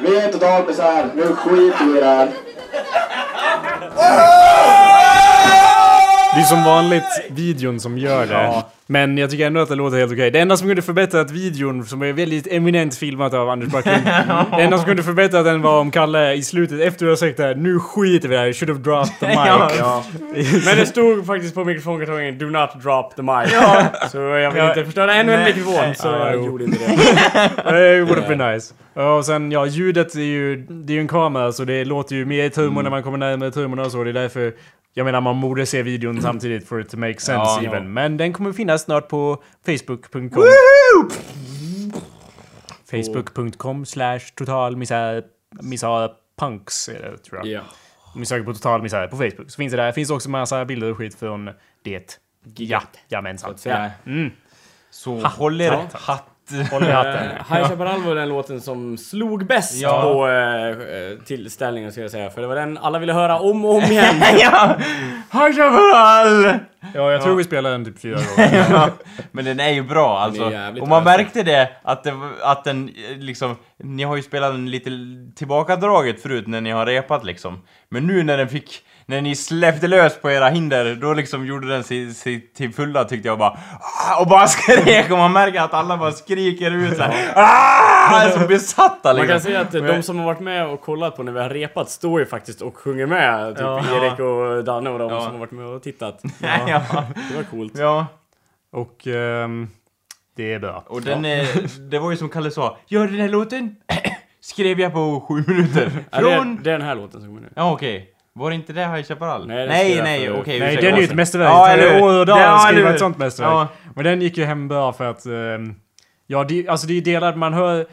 Speaker 6: Vi är totalt besär. Nu skiter vi i det här.
Speaker 1: Det är som vanligt videon som gör det. Men jag tycker ändå att det låter helt okej. Det enda som kunde förbättrat videon, som är väldigt eminent filmat av Anders Backlund. det enda som kunde förbättrat den var om Kalle i slutet, efter att ha sagt det här, nu skiter vi i det här, should have dropped the mic.
Speaker 3: Men det stod faktiskt på mikrofonkartongen Do not drop the mic. Så jag vill inte förstöra ännu en mikrofon. Så
Speaker 1: Ja,
Speaker 3: jag
Speaker 1: jo.
Speaker 3: gjorde inte det.
Speaker 1: Eh, It would have been nice. Och sen ja, ljudet är ju, det är ju en kamera så det låter ju mer i trummor när man kommer närmare trummorna och så. Det är därför jag menar man borde se videon samtidigt for it to make sense
Speaker 2: Ja.
Speaker 1: even. Men den kommer finnas snart på facebook.com. Facebook.com slash total misär, misär punks är det tror jag.
Speaker 3: Ja.
Speaker 1: Om ni söker på total misär på Facebook så finns det där. Finns också massa bilder och skit från det. Ja, jamensan.
Speaker 2: Så, håll er hatt
Speaker 4: Håll i hatten.
Speaker 3: Eh, High Chaparral var den låten som slog bäst
Speaker 2: Ja.
Speaker 3: på eh, eh, tillställningen ska jag säga. För det var den alla ville höra om och om igen.
Speaker 2: ja! High Chaparral!
Speaker 1: Ja, jag tror vi spelar den typ fyra gånger.
Speaker 2: Ja, men den är ju bra alltså.
Speaker 3: jävligt
Speaker 2: Och man
Speaker 3: bra.
Speaker 2: märkte det att, det att den eh, liksom, ni har ju spelat den lite tillbakadraget förut när ni har repat liksom. Men nu när den fick, när ni släppte lös på era hinder, då liksom gjorde den sig, sig till fulla tyckte jag bara "Ah!" och bara skrek och man märker att alla bara skriker ut såhär "Ah!" som besatta
Speaker 3: Man kan
Speaker 2: liksom.
Speaker 3: säga att eh, de som har varit med och kollat på när vi har repat står ju faktiskt och sjunger med. Typ Erik och Danne och de
Speaker 2: Ja.
Speaker 3: som har varit med och tittat.
Speaker 2: ja.
Speaker 3: Det var coolt.
Speaker 2: ja.
Speaker 1: Och ehm, det är bra.
Speaker 2: Och den är, det var ju som Kalle sa, gör den här låten skrev jag på sju minuter.
Speaker 3: Ja, det,
Speaker 2: Från
Speaker 3: är, det är den här låten som kommer nu.
Speaker 2: Ja okej. Var det inte det High Chaparral?
Speaker 3: Nej, det skrev
Speaker 2: nej,
Speaker 3: jag
Speaker 2: nej
Speaker 3: förut.
Speaker 2: okej.
Speaker 1: Nej,
Speaker 2: ursäkta.
Speaker 1: den är ju ett mästerverk.
Speaker 2: Ja,
Speaker 1: Ja,
Speaker 2: eller
Speaker 1: eller
Speaker 2: hur?
Speaker 1: år och
Speaker 2: Ja,
Speaker 1: dag att
Speaker 2: eller
Speaker 1: skriva
Speaker 2: hur?
Speaker 1: ett sånt mästerverk.
Speaker 2: Ja.
Speaker 1: Men den gick ju hem bra för att... ehm, ja, det, alltså det är ju delar man hör...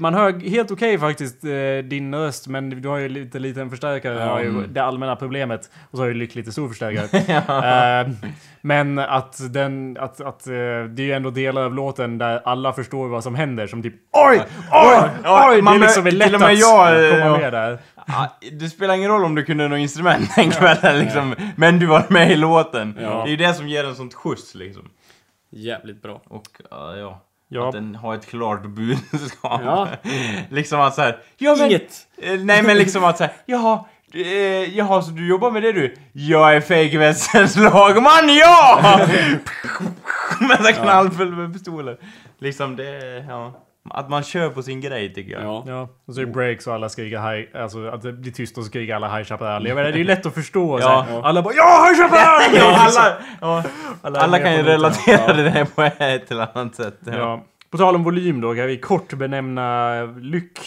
Speaker 1: Man hör helt okej faktiskt eh, din röst, men du har ju lite liten förstärkare. har ju det allmänna problemet. Och så har ju Lyck lite stor förstärkare. Ehm, men att den... Att, att, eh, det är ju ändå delar av låten där alla förstår vad som händer. Som typ oj, oj,
Speaker 2: oj,
Speaker 1: oj! Det
Speaker 2: man
Speaker 1: är liksom
Speaker 2: mär-
Speaker 1: lätt
Speaker 2: till och
Speaker 1: att
Speaker 2: med jag, eh,
Speaker 1: komma
Speaker 2: ja.
Speaker 1: med där.
Speaker 2: Ah, det spelar ingen roll om du kunde något instrument den kvällen liksom. Men du var med i låten.
Speaker 3: Ja.
Speaker 2: Det är ju det som ger en sånt skjuts liksom.
Speaker 3: Jävligt bra.
Speaker 2: Och ah, ja.
Speaker 1: Ja.
Speaker 2: Att den har ett klart budskap.
Speaker 3: Ja.
Speaker 2: liksom att såhär... Ja, men,
Speaker 3: Inget.
Speaker 2: Eh, nej men liksom att såhär, jaha, eh, jaha så du jobbar med det du? Jag är fejkvästens lagman, ja! med så knallfull med pistoler. Liksom det, ja. Att man kör på sin grej tycker jag.
Speaker 3: Ja.
Speaker 1: Ja, och
Speaker 2: Mm.
Speaker 1: så är det breaks och alla skriker high, alltså att det blir tyst och så skriker alla High Chaparral. Jag menar, det är ju lätt att förstå.
Speaker 2: Ja.
Speaker 1: Så här. Alla bara ja, High Chaparral!
Speaker 2: Ja, alla, ja,
Speaker 1: är
Speaker 2: alla
Speaker 1: med
Speaker 2: kan
Speaker 1: på
Speaker 2: ju
Speaker 1: noterna.
Speaker 2: relatera till det här på ett eller annat sätt. Ja.
Speaker 1: Ja. På tal om volym då, kan vi kort benämna Lyck.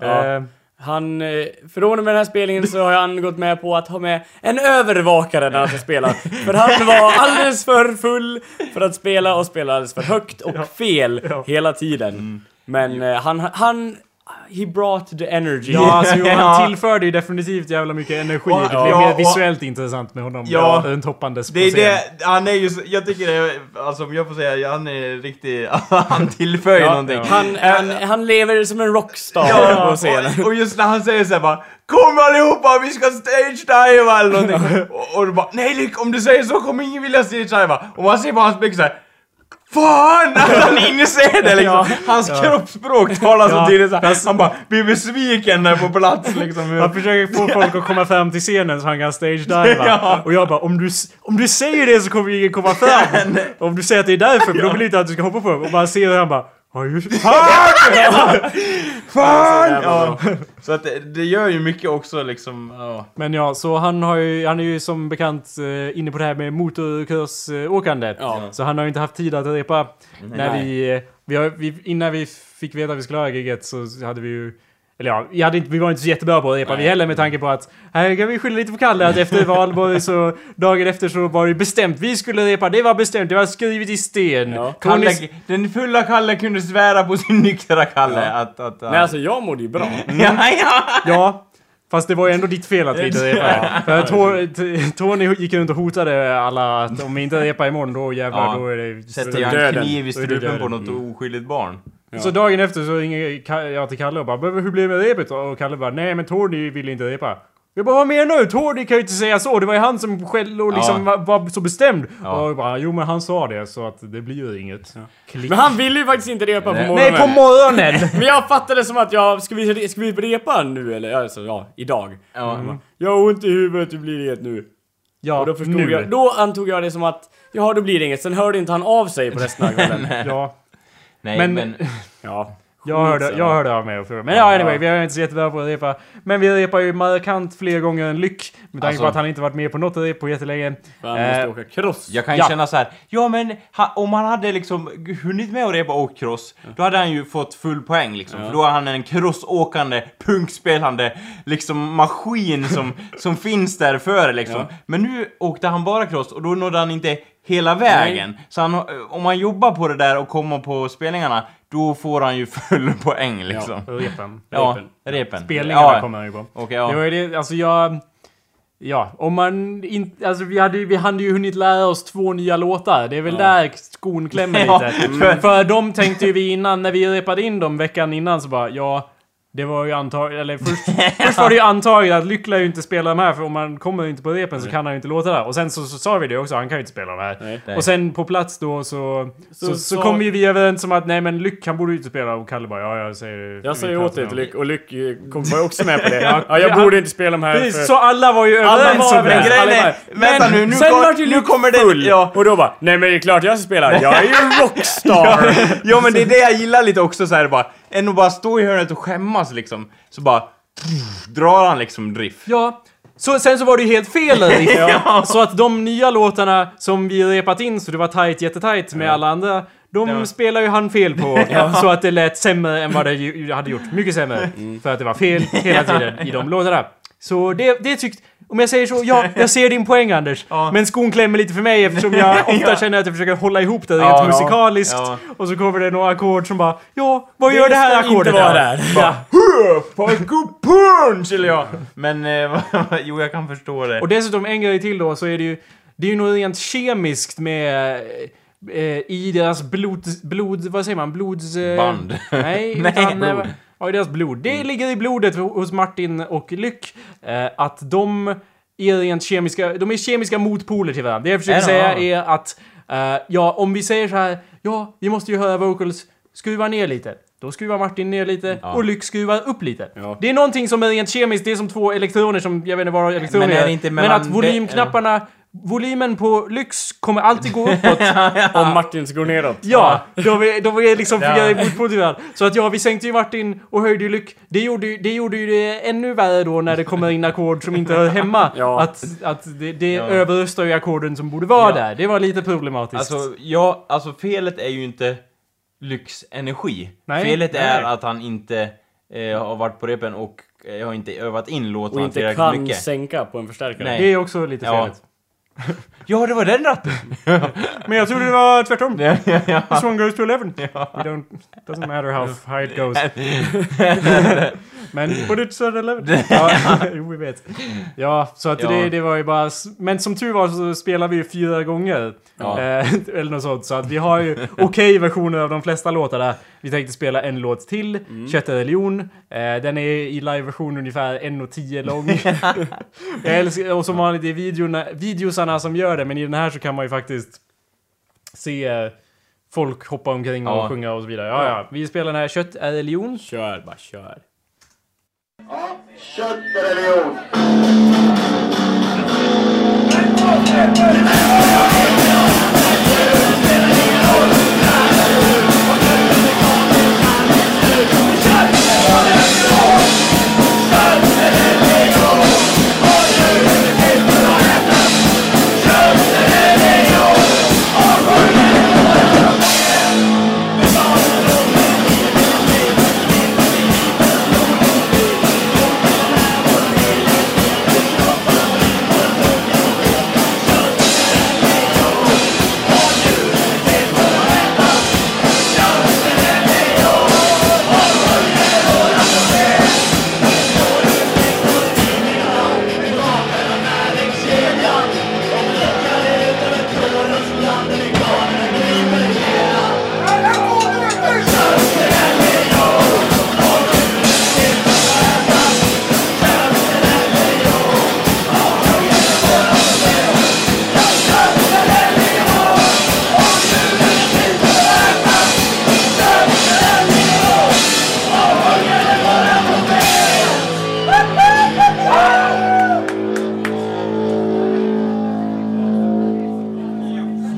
Speaker 3: Ja.
Speaker 1: Eh,
Speaker 3: Han, eh, från och med den här spelningen så har han gått med på att ha med en övervakare när han ska spela. För han var alldeles för full för att spela och spelade alldeles för högt och fel hela
Speaker 2: Mm.
Speaker 3: tiden. Men eh, han, han, he brought the energy.
Speaker 1: ja, alltså jo,
Speaker 2: Ja.
Speaker 1: han tillförde ju definitivt jävla mycket energi.
Speaker 2: Och-
Speaker 1: det blev
Speaker 2: ja,
Speaker 1: mer
Speaker 2: och-
Speaker 1: visuellt intressant med honom.
Speaker 2: Ja.
Speaker 1: Ja. En toppandes på
Speaker 2: Det är
Speaker 1: scen.
Speaker 2: det, han är ju, så- jag tycker det, alltså om jag får säga, han är riktig, han tillför ju någonting.
Speaker 3: Han, han, han lever som en rockstar
Speaker 2: Ja,
Speaker 3: på scenen.
Speaker 2: Och, och just när han säger såhär bara Kom allihopa, vi ska stage-diva eller någonting. och, och du bara Nej Lyck, om du säger så kommer ingen vilja stage-diva. Och man ser på hans blick såhär Fan! Att han inser det liksom. Hans kroppsspråk talar så
Speaker 1: Ja,
Speaker 2: tydligt såhär. Han bara blir besviken där på plats liksom.
Speaker 1: Han försöker få folk att komma fram till scenen så han kan stage-diva.
Speaker 2: Ja.
Speaker 1: Och jag bara, om du, s- om du säger det så kommer ingen komma fram. om du säger att det är därför, men då vill jag inte att du ska hoppa på dem. Och man ser hur han bara, "Ja, just-
Speaker 2: Fan! Ja. Så att det, det gör ju mycket också liksom. Ja.
Speaker 1: Men ja, så han, har ju, han är ju som bekant eh, inne på det här med motorkursåkande.
Speaker 3: Ja.
Speaker 1: Så han har ju inte haft tid att repa. När vi, eh, vi, har, vi, innan vi fick veta att vi skulle ha gigget så hade vi ju eller ja, vi, hade inte, vi var inte så jättebra på att repa vi heller med tanke på att här kan vi skylla lite på Kalle att efter valborg så dagen efter så var det bestämt. Vi skulle repa, det var bestämt, det var skrivet i sten.
Speaker 3: Ja.
Speaker 1: Tony,
Speaker 2: Kalle, den fulla Kalle kunde svära på sin nyktra Kalle att... att, att
Speaker 3: Nej alltså jag mådde ju bra.
Speaker 2: ja, ja.
Speaker 1: Ja, fast det var ju ändå ditt fel att vi inte repade. För att Tor- t- Tony gick runt och hotade alla att om vi inte repar imorgon då jävlar
Speaker 2: Ja.
Speaker 1: då är det...
Speaker 2: Sätter jag en
Speaker 3: döden.
Speaker 2: kniv i
Speaker 1: Då är du
Speaker 2: strupen på
Speaker 1: döden.
Speaker 2: något oskyldigt barn.
Speaker 1: Så dagen efter så ringer Ka- jag till Kalle och bara "Men hur blev det med repet? Och Kalle bara nej men Tony ville inte repa. Jag bara vad menar du? Tony kan ju inte säga så. Det var ju han som själv och liksom var, var så bestämd.
Speaker 2: Ja.
Speaker 1: Och jag bara jo men han sa det så att det blir ju inget. Klick.
Speaker 3: Men han ville ju faktiskt inte repa på
Speaker 2: Nej.
Speaker 3: morgonen.
Speaker 1: Nej på morgonen!
Speaker 3: Men jag fattade som att jag, ska vi, ska vi repa nu eller? Alltså ja, idag.
Speaker 2: Ja.
Speaker 3: Jag har ont i huvudet, det blir inget nu.
Speaker 1: ja,
Speaker 3: Och då, förstod
Speaker 1: nu.
Speaker 3: jag, då antog jag det som att, jaha då blir det inget. Sen hörde inte han av sig på resten av kvällen.
Speaker 1: Ja.
Speaker 2: Nej men...
Speaker 1: Men-
Speaker 3: Ja.
Speaker 1: Jag hörde,
Speaker 3: Skitsamma.
Speaker 1: jag hörde av mig och frågade. Men ja, anyway, vi är inte så jättebra på att repa. Men vi repar ju markant fler gånger än Lyck. Med tanke
Speaker 2: Alltså-
Speaker 1: på att han inte varit med på något rep på jättelänge.
Speaker 3: Fan, måste
Speaker 1: Eh,
Speaker 3: åka cross.
Speaker 2: jag kan ju
Speaker 1: Ja.
Speaker 2: känna så här. ja men ha, om han hade liksom hunnit med att repa och cross, då hade han ju fått full poäng liksom. För då är han en crossåkande, punkspelande liksom maskin som, som finns där före liksom. Men nu åkte han bara cross och då nådde han inte hela vägen. Så han, eh, om han jobbar på det där och kommer på spelningarna, då får han ju full poäng liksom.
Speaker 1: Repen.
Speaker 2: Ja,
Speaker 3: Repen.
Speaker 2: repen.
Speaker 1: Spelningarna
Speaker 2: ja.
Speaker 1: kommer han ju på.
Speaker 2: Okej, ja.
Speaker 1: Det var ju det, alltså jag... Ja, om man inte... Alltså vi, hade, ju- vi hade ju hunnit lära oss två nya låtar. Det är väl där skon klämmer
Speaker 2: Ja,
Speaker 1: lite. för... för de tänkte ju vi innan, när vi repade in dem veckan innan så bara, ja... Det var ju antagligen, eller först, först var det ju antagligen att Lyckla ju inte spelar de här för om man kommer inte på repen så kan han ju inte låta där. Och sen så, så sa vi det också, han kan ju inte spela de här.
Speaker 2: Nej.
Speaker 1: Och sen på plats då så... Så, så,
Speaker 3: sa-
Speaker 1: kom ju vi överens om att nej men Lyck han borde ju inte spela och Kalle bara ja jag säger det.
Speaker 3: Jag sa
Speaker 1: Vi
Speaker 3: ju
Speaker 1: pratar
Speaker 3: åt dig
Speaker 1: om det."
Speaker 3: till Lyck, och Lyck eh, kom- var ju också med på det. Ja, jag
Speaker 1: han-
Speaker 3: borde inte spela de här för...
Speaker 1: Precis, så alla var ju
Speaker 3: Alla
Speaker 1: överens
Speaker 3: var
Speaker 1: om det.
Speaker 3: överens.
Speaker 2: grejen
Speaker 3: alla
Speaker 2: är-
Speaker 3: bara,
Speaker 2: vänta nu, nu
Speaker 3: sen
Speaker 2: går-
Speaker 3: vart ju
Speaker 2: nu
Speaker 3: Lyck
Speaker 2: kommer det-
Speaker 3: full.
Speaker 2: ja.
Speaker 3: Och då bara, nej men det är klart jag ska spela, jag är ju en rockstar!
Speaker 2: Ja men det är det jag gillar lite också så här bara, än att bara stå i hörnet och skämmas liksom, så bara drar han liksom drift.
Speaker 1: Ja. Så, sen så var det ju helt fel Erik. Så att de nya låtarna som vi repat in så det var tight, jättetajt med alla andra. De spelar ju han fel på. Så att det lät sämre än vad det ju- hade gjort. Mycket sämre. För att det var fel hela tiden i de låtarna. Så det, det tyckte... Om jag säger så, ja, jag ser din poäng Anders. Men skon klämmer lite för mig eftersom jag ofta känner att jag försöker hålla ihop det rent
Speaker 2: Ja, ja.
Speaker 1: musikaliskt.
Speaker 2: Ja.
Speaker 1: Och så kommer det några ackord som bara, ja, vad gör det, här
Speaker 3: ska inte
Speaker 1: ackordet?
Speaker 3: vara
Speaker 1: då?
Speaker 3: där.
Speaker 1: Ja.
Speaker 2: Paco punch eller ja. Men eh, jo jag kan förstå det.
Speaker 1: Och dessutom en grej till då så är det ju, det är ju något rent kemiskt med eh, i deras blod, blod, vad säger man, blods... Eh,
Speaker 2: Band.
Speaker 1: Nej,
Speaker 2: Nej,
Speaker 1: utan, eh,
Speaker 2: blod. Mm.
Speaker 1: Ja, i deras blod. Det ligger i blodet ho- hos Martin och Lyck eh, att de är rent kemiska, de är kemiska motpoler till varandra. Det jag försöker
Speaker 2: Ja,
Speaker 1: säga
Speaker 2: ja.
Speaker 1: är att, eh, ja, om vi säger så här, ja, vi måste ju höra vocals, skruva ner lite. Då skruvar Martin ner lite och Lyck skruvar upp lite.
Speaker 3: Ja.
Speaker 1: Det är någonting som är rent kemiskt, det är som två elektroner som, jag vet inte vad elektroner
Speaker 2: Men är det
Speaker 1: gör.
Speaker 2: inte
Speaker 1: Men
Speaker 2: mellan
Speaker 1: att
Speaker 2: det-
Speaker 1: volymknapparna, volymen på lyx kommer alltid gå uppåt.
Speaker 3: Om Martins går neråt.
Speaker 1: Ja, de är, de är liksom
Speaker 2: Ja.
Speaker 1: ja. motpolerade. Så att ja, vi sänkte ju Martin och höjde ju lyck. Det gjorde, ju- det gjorde ju det ännu värre då när det kommer in ackord som inte hör hemma.
Speaker 3: Ja.
Speaker 1: Att, att det, det överröstar ju ackorden som borde vara där. Det var lite problematiskt.
Speaker 2: Alltså, ja, alltså felet är ju inte lyxenergi.
Speaker 1: Nej.
Speaker 2: felet
Speaker 1: Nej.
Speaker 2: är att han inte eh, har varit på repen och eh, har inte övat in
Speaker 3: Och
Speaker 2: låtarna
Speaker 3: inte
Speaker 2: tillräckligt
Speaker 3: kan
Speaker 2: mycket.
Speaker 3: sänka på en förstärkare.
Speaker 2: Nej.
Speaker 1: det är också lite
Speaker 2: Ja.
Speaker 1: felet.
Speaker 2: Ja, det var den ratten!
Speaker 1: Men jag trodde det var tvärtom. This one goes to eleven. We don't, doesn't matter how high it goes. men på ditt stöd eleven. ja, jo, vi vet. Ja, så att
Speaker 2: Ja.
Speaker 1: Det, det var ju bara... s- Men som tur var så spelar vi ju fyra gånger.
Speaker 2: Ja.
Speaker 1: Eh, eller något sånt. Så att vi har ju okej versioner av de flesta låtar där. Vi tänkte spela en låt till,
Speaker 2: Mm.
Speaker 1: Kött är religion. Eh, den är i liveversion ungefär 1.10 lång. Jag älskar, och som vanligt i videorna, videosarna som gör det, men i den här så kan man ju faktiskt se eh, folk hoppa omkring och
Speaker 2: Ja.
Speaker 1: sjunga och så vidare. Ja, ja. Vi spelar den här Kött är religion.
Speaker 3: Kör, bara kör.
Speaker 6: Ja, kött är religion.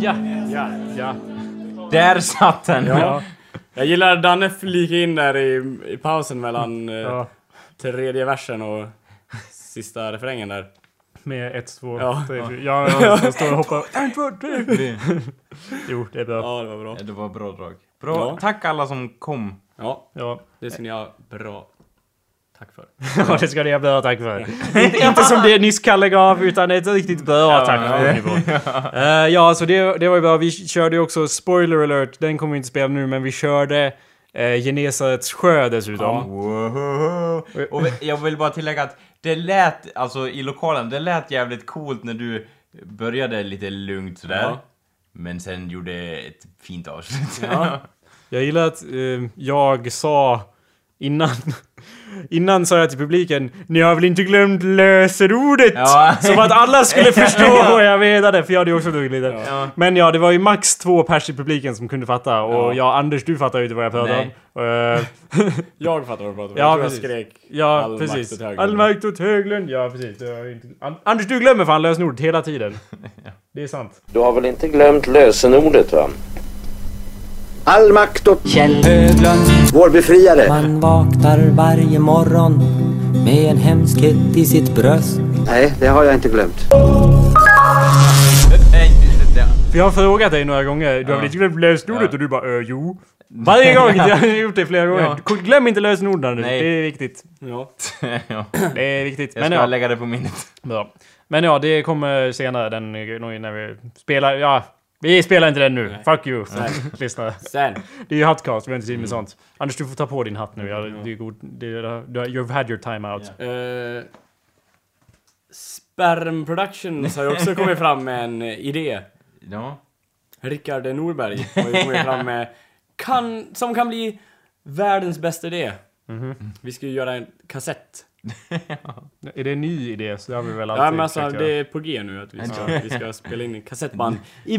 Speaker 1: Ja, ja, ja.
Speaker 2: Där satt den!
Speaker 1: ja.
Speaker 3: Jag gillar Danne flika in där i, i pausen mellan eh,
Speaker 1: ja.
Speaker 3: tredje versen och sista refrängen där.
Speaker 1: Med ett, två,
Speaker 3: Ja.
Speaker 1: tre, fyra. Ja, jag, jag står och hoppar. En, två, tre. Jo, det är bra.
Speaker 3: Ja, det var bra.
Speaker 2: Det var bra drag. Bra.
Speaker 3: Ja.
Speaker 2: Tack alla som kom.
Speaker 3: Ja,
Speaker 1: Ja,
Speaker 3: det ska ni ha bra. Tack för.
Speaker 1: ja det ska ni ha bra tack för. inte, inte som det nyss Kalle gav, utan ett riktigt bra tack för. nivå. Eh, ja, så det, det var ju bra. Vi körde ju också spoiler alert. Den kommer vi inte spela nu, men vi körde eh, Genesarets sjö dessutom.
Speaker 2: Wohoho. Och jag vill bara tillägga att det lät, alltså i lokalen, det lät jävligt coolt när du började lite lugnt sådär.
Speaker 3: Ja.
Speaker 2: Men sen gjorde ett fint avslut.
Speaker 1: Jag gillar att eh, jag sa innan Innan sa jag till publiken Ni har väl inte glömt lösenordet?
Speaker 2: Ja.
Speaker 1: Som att alla skulle förstå vad jag menade för jag hade ju också druckit lite
Speaker 2: Ja.
Speaker 1: Men ja, det var ju max två pers i publiken som kunde fatta och
Speaker 3: Ja.
Speaker 1: jag, Anders du fattar ju inte vad jag pratade
Speaker 2: Nej.
Speaker 1: om Eh,
Speaker 3: Jag fattar vad du pratar om.
Speaker 1: Ja,
Speaker 3: jag
Speaker 1: precis.
Speaker 3: tror jag skrek
Speaker 1: Ja,
Speaker 3: all makt
Speaker 1: precis.
Speaker 3: åt höger.
Speaker 1: All makt åt Höglund. Ja, precis. Det har jag inte... An- Anders, du glömmer fan lösenordet hela tiden. Det är sant.
Speaker 7: Du har väl inte glömt lösenordet va?
Speaker 6: All makt åt
Speaker 8: Kjell Höglund,
Speaker 6: vår befriare.
Speaker 8: han vaknar varje morgon med en hemskhet i sitt bröst.
Speaker 6: Nej, det har jag inte glömt.
Speaker 2: Nej, just det.
Speaker 1: För jag har frågat dig några gånger. Du har väl inte glömt lösenordet?
Speaker 2: Ja.
Speaker 1: Och du bara ö, jo. Varje gång. Jag har gjort det flera gånger. Glöm inte lösenorden nu.
Speaker 2: Nej.
Speaker 1: Det är viktigt.
Speaker 3: Ja.
Speaker 2: ja.
Speaker 1: Det är viktigt.
Speaker 2: Jag
Speaker 1: Men
Speaker 2: ska
Speaker 1: ja,
Speaker 2: lägga det på minnet.
Speaker 1: bra. Men ja, det kommer senare. Den, nog när vi spelar. Ja, vi spelar inte den nu. Fuck you. Lyssna.
Speaker 3: Sen.
Speaker 1: Det är ju hattcast. Vi har inte tid med
Speaker 2: Mm.
Speaker 1: sånt. Anders, du får ta på din hatt nu. Jag, det är god, det, du har, you've had your time out.
Speaker 3: Uh, Sperm Productions har ju också kommit fram med en idé.
Speaker 2: Ja.
Speaker 3: Rickard Norberg har ju kommit fram med kan, som kan bli världens bästa idé. Vi ska ju göra en kassett.
Speaker 1: Är det en ny idé så det har vi väl alltid
Speaker 3: Ja men alltså
Speaker 1: försökt
Speaker 3: det
Speaker 1: göra.
Speaker 3: är på G nu att vi ska, vi ska spela in en kassettband i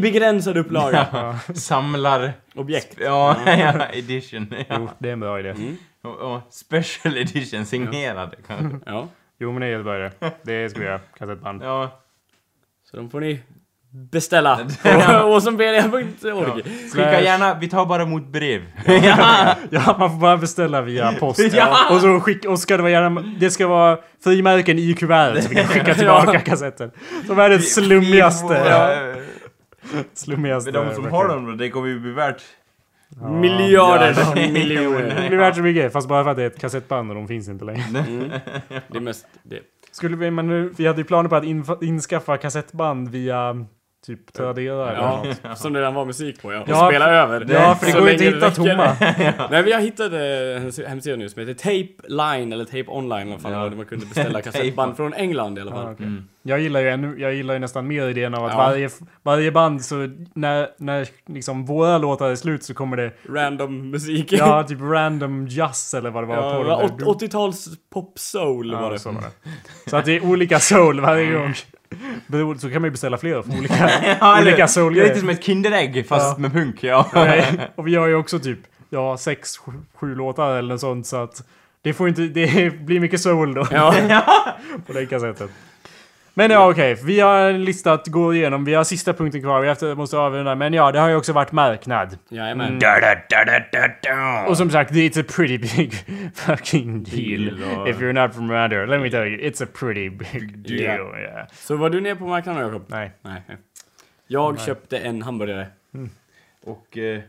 Speaker 3: begränsad upplaga.
Speaker 2: Samlar...
Speaker 3: Objekt.
Speaker 2: Ja, ja, edition.
Speaker 1: Jo,
Speaker 2: Ja.
Speaker 1: det är en bra idé.
Speaker 2: Och, och special edition, signerad kanske.
Speaker 3: Ja.
Speaker 1: Jo men det är en bra idé. Det ska vi göra. Kassettband.
Speaker 2: Ja.
Speaker 3: Så de får ni beställa på åsonbelia.org.
Speaker 2: Skicka gärna, vi tar bara emot brev.
Speaker 1: Ja, man får bara beställa via post. Och så skicka, och ska det vara gärna, det ska vara frimärken i kuvertet så vi kan skicka tillbaka kassetten. Som är det slummigaste. Ja,
Speaker 2: Ja.
Speaker 1: slummigaste.
Speaker 2: Men de som har dem, det kommer ju bli värt
Speaker 3: Miljarders
Speaker 2: Ja.
Speaker 1: Det
Speaker 3: miljoner.
Speaker 1: blir värt så mycket, fast bara för att det är ett kassettband och de finns inte längre.
Speaker 3: Det är mest det.
Speaker 1: Skulle vi, men nu, vi hade ju planer på att inf- inskaffa kassettband via typ Tradera eller något.
Speaker 3: Ja, som det redan var musik på ja. Och
Speaker 1: Ja,
Speaker 3: spela
Speaker 1: för-
Speaker 3: över.
Speaker 1: Ja, för det
Speaker 3: Så
Speaker 1: går ju inte att
Speaker 3: länge
Speaker 1: hitta
Speaker 3: det räcker.
Speaker 1: tomma.
Speaker 3: Nej vi har hittat eh, en hemsida nu som heter Tape Line eller Tape Online i alla fall. Där man kunde beställa kassettband från England i alla fall.
Speaker 1: okej. Jag gillar, ju ännu, jag gillar ju nästan mer idén av att
Speaker 3: Mm. Ja.
Speaker 1: varje, varje band så när, när liksom våra låtar är slut så kommer det
Speaker 3: Random musik.
Speaker 1: ja, typ random jazz eller vad det var
Speaker 3: Ja,
Speaker 1: på
Speaker 3: det
Speaker 1: dem.
Speaker 3: var åt- 80-tals pop-soul
Speaker 1: Ja,
Speaker 3: var det.
Speaker 1: så var det. Så att det är olika soul varje gång. Beror- Så kan man ju beställa fler från olika, olika soul
Speaker 2: Det är lite som ett Kinderägg fast med punk, ja.
Speaker 1: Nej, Och vi har ju också typ, ja, sex, sju, sju låtar eller något sånt så att det får inte, det blir mycket soul då. på den kassetten. Men ja, okej. Vi har en lista att gå igenom. Vi har sista punkten kvar. Vi efter- måste avrunda. Men ja, det har ju också varit marknad.
Speaker 3: Jajamän.
Speaker 1: Och som sagt, it's a pretty big fucking deal. If you're not from around here. Let me tell you, it's a pretty big deal. Yeah.
Speaker 3: Så var du nere på marknaden Jakob?
Speaker 1: Nej.
Speaker 3: Nej. nej. Jag köpte en hamburgare.
Speaker 2: Och eh,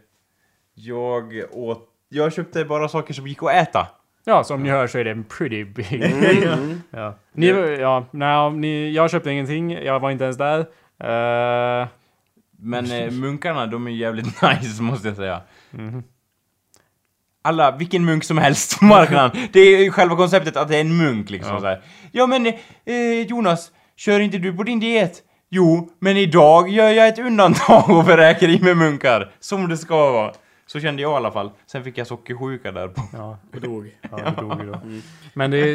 Speaker 2: jag åt... Jag köpte bara saker som gick att äta.
Speaker 1: Ja, som ni hör så är det en pretty big... ja. Ni, ja, nej, ni, jag köpte ingenting, jag var inte ens där. Eh,
Speaker 2: Men eh, munkarna, de är jävligt nice måste jag säga. Alla, vilken munk som helst på marknaden. Det är ju själva konceptet att det är en munk liksom ja. så här. Ja men eh, Jonas, kör inte du på din diet? Jo, men idag gör jag ett undantag och beräkar i mig munkar. Som det ska vara. Så kände jag i alla fall. Sen fick jag sockersjuka där på.
Speaker 1: ja,
Speaker 3: Och dog.
Speaker 1: ja, Mm. det dog ju då. Men det är,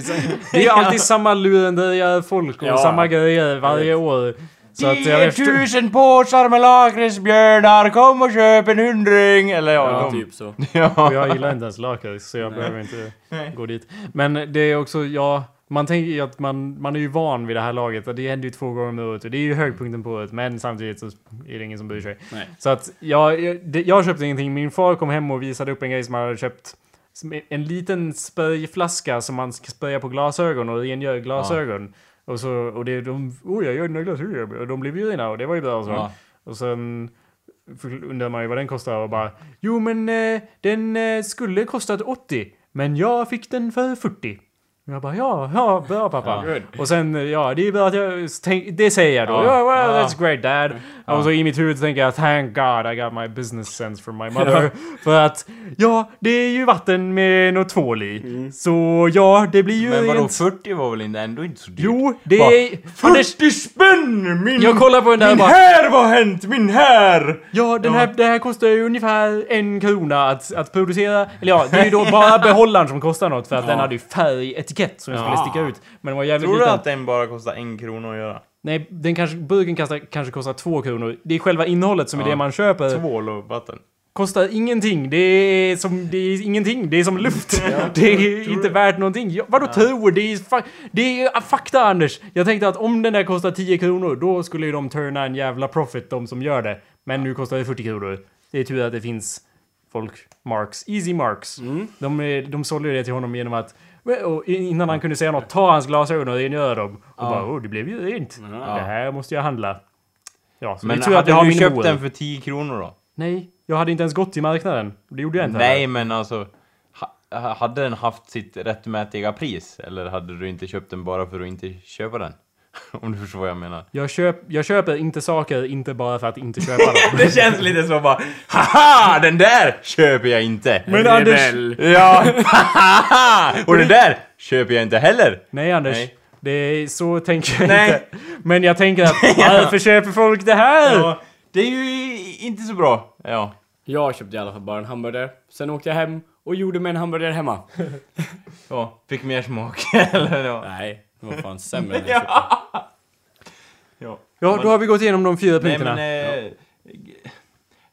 Speaker 1: det är ju alltid samma lurendrejare folk och
Speaker 3: Ja.
Speaker 1: samma grejer varje år. Så att jag vet...
Speaker 2: 10 000 påsar med lakritsbjörnar, kom och köp en hundring! Eller ja,
Speaker 3: Ja,
Speaker 2: de.
Speaker 3: typ så.
Speaker 2: Ja.
Speaker 1: Och jag gillar inte ens lakrits så jag behöver inte gå dit. Men det är också, ja, man tänker ju att man, man är ju van vid det här laget och det händer ju två gånger om året och det är ju högpunkten på året men samtidigt så är det ingen som bryr sig.
Speaker 3: Nej.
Speaker 1: Så att jag, jag, det- jag köpte ingenting, min far kom hem och visade upp en grej som han hade köpt. Som är En liten sprayflaska som man ska spraya på glasögon och rengör glasögon. Och så, och det, de, oh jag gör dina glasögon och de blev ju rena och det var ju bra och så.
Speaker 2: Ja.
Speaker 1: Och sen för- undrar man ju vad den kostar och bara Jo men eh, den eh, skulle kostat 80 men jag fick den för 40. Och jag bara ja, ja, bra pappa.
Speaker 2: Ja.
Speaker 1: Och sen, eh, ja, det är bra att jag... Tänk, det säger jag då.
Speaker 2: Ja.
Speaker 1: Ja, well, that's great dad. Och så i mitt huvud tänker jag thank God I got my business sense from my mother. För att, ja, det är ju vatten med något tvål i. Så ja, det blir ju
Speaker 2: Mm. Men vadå,
Speaker 1: rent-
Speaker 2: 40 var väl inte- ändå inte så dyrt?
Speaker 1: Jo, det
Speaker 2: Va?
Speaker 1: är...
Speaker 2: 40 spänn! Min,
Speaker 1: Jag kollar på den där och
Speaker 2: min
Speaker 1: bara-
Speaker 2: här, vad har hänt? Min här!
Speaker 1: Ja, den Här, det här kostar ju ungefär en krona att, att producera. Eller ja, det är ju då bara behållaren som kostar något för att den hade ju färgetikett som jag skulle
Speaker 2: Ja.
Speaker 1: sticka ut. Men den var jävligt
Speaker 2: Tror du
Speaker 1: liten.
Speaker 2: att den bara kostar en krona att göra?
Speaker 1: Nej, den kanske, burken kastar, kanske kostar två kronor. Det är själva innehållet som är det man köper.
Speaker 2: Tvål och vatten.
Speaker 1: Kostar ingenting. Det är som, det är ingenting. Det är som luft. det är inte värt någonting. Ja, vadå tror? Det är, fa- det är ah, fakta Anders. Jag tänkte att om den där kostar 10 kronor, då skulle ju de turna en jävla profit, de som gör det. Men nu kostar det 40 kronor. Det är tur att det finns folk, Marks, Easy Marks.
Speaker 2: Mm.
Speaker 1: De, är- de sålde ju det till honom genom att och innan han kunde säga något, ta hans glasögon och rengöra dem. Och bara, oh, det blev ju rent. Det här måste jag handla. Ja, så
Speaker 2: Men
Speaker 1: det är tur att
Speaker 2: hade
Speaker 1: jag har
Speaker 2: du
Speaker 1: min
Speaker 2: köpt
Speaker 1: Moel.
Speaker 2: den för 10 kronor då?
Speaker 1: Nej, jag hade inte ens gått till marknaden. Det gjorde jag inte.
Speaker 2: Nej, men alltså... ha- ha- Hade den haft sitt rättmätiga pris? Eller hade du inte köpt den bara för att inte köpa den? Om du förstår vad jag menar.
Speaker 1: Jag, köp, jag köper inte saker, inte bara för att inte köpa dem.
Speaker 2: Det känns lite som bara Haha! Den där köper jag inte!
Speaker 1: Men Anders-
Speaker 2: Ja! Haha! Och den där köper jag inte heller!
Speaker 1: Nej Anders,
Speaker 2: Nej.
Speaker 1: Det är, så tänker jag
Speaker 2: Nej.
Speaker 1: inte. Men jag tänker att varför köper folk det här?
Speaker 2: Ja, det är ju inte så bra. Ja.
Speaker 3: Jag köpte i alla fall bara en hamburgare. Sen åkte jag hem och gjorde mig en hamburgare hemma.
Speaker 2: ja. Fick mer smak. Eller ja.
Speaker 3: Nej, det var fan sämre än jag köpte.
Speaker 2: ja.
Speaker 1: Ja, då har vi gått igenom de fyra
Speaker 2: Nej
Speaker 1: punkterna.
Speaker 2: men... Eh, g-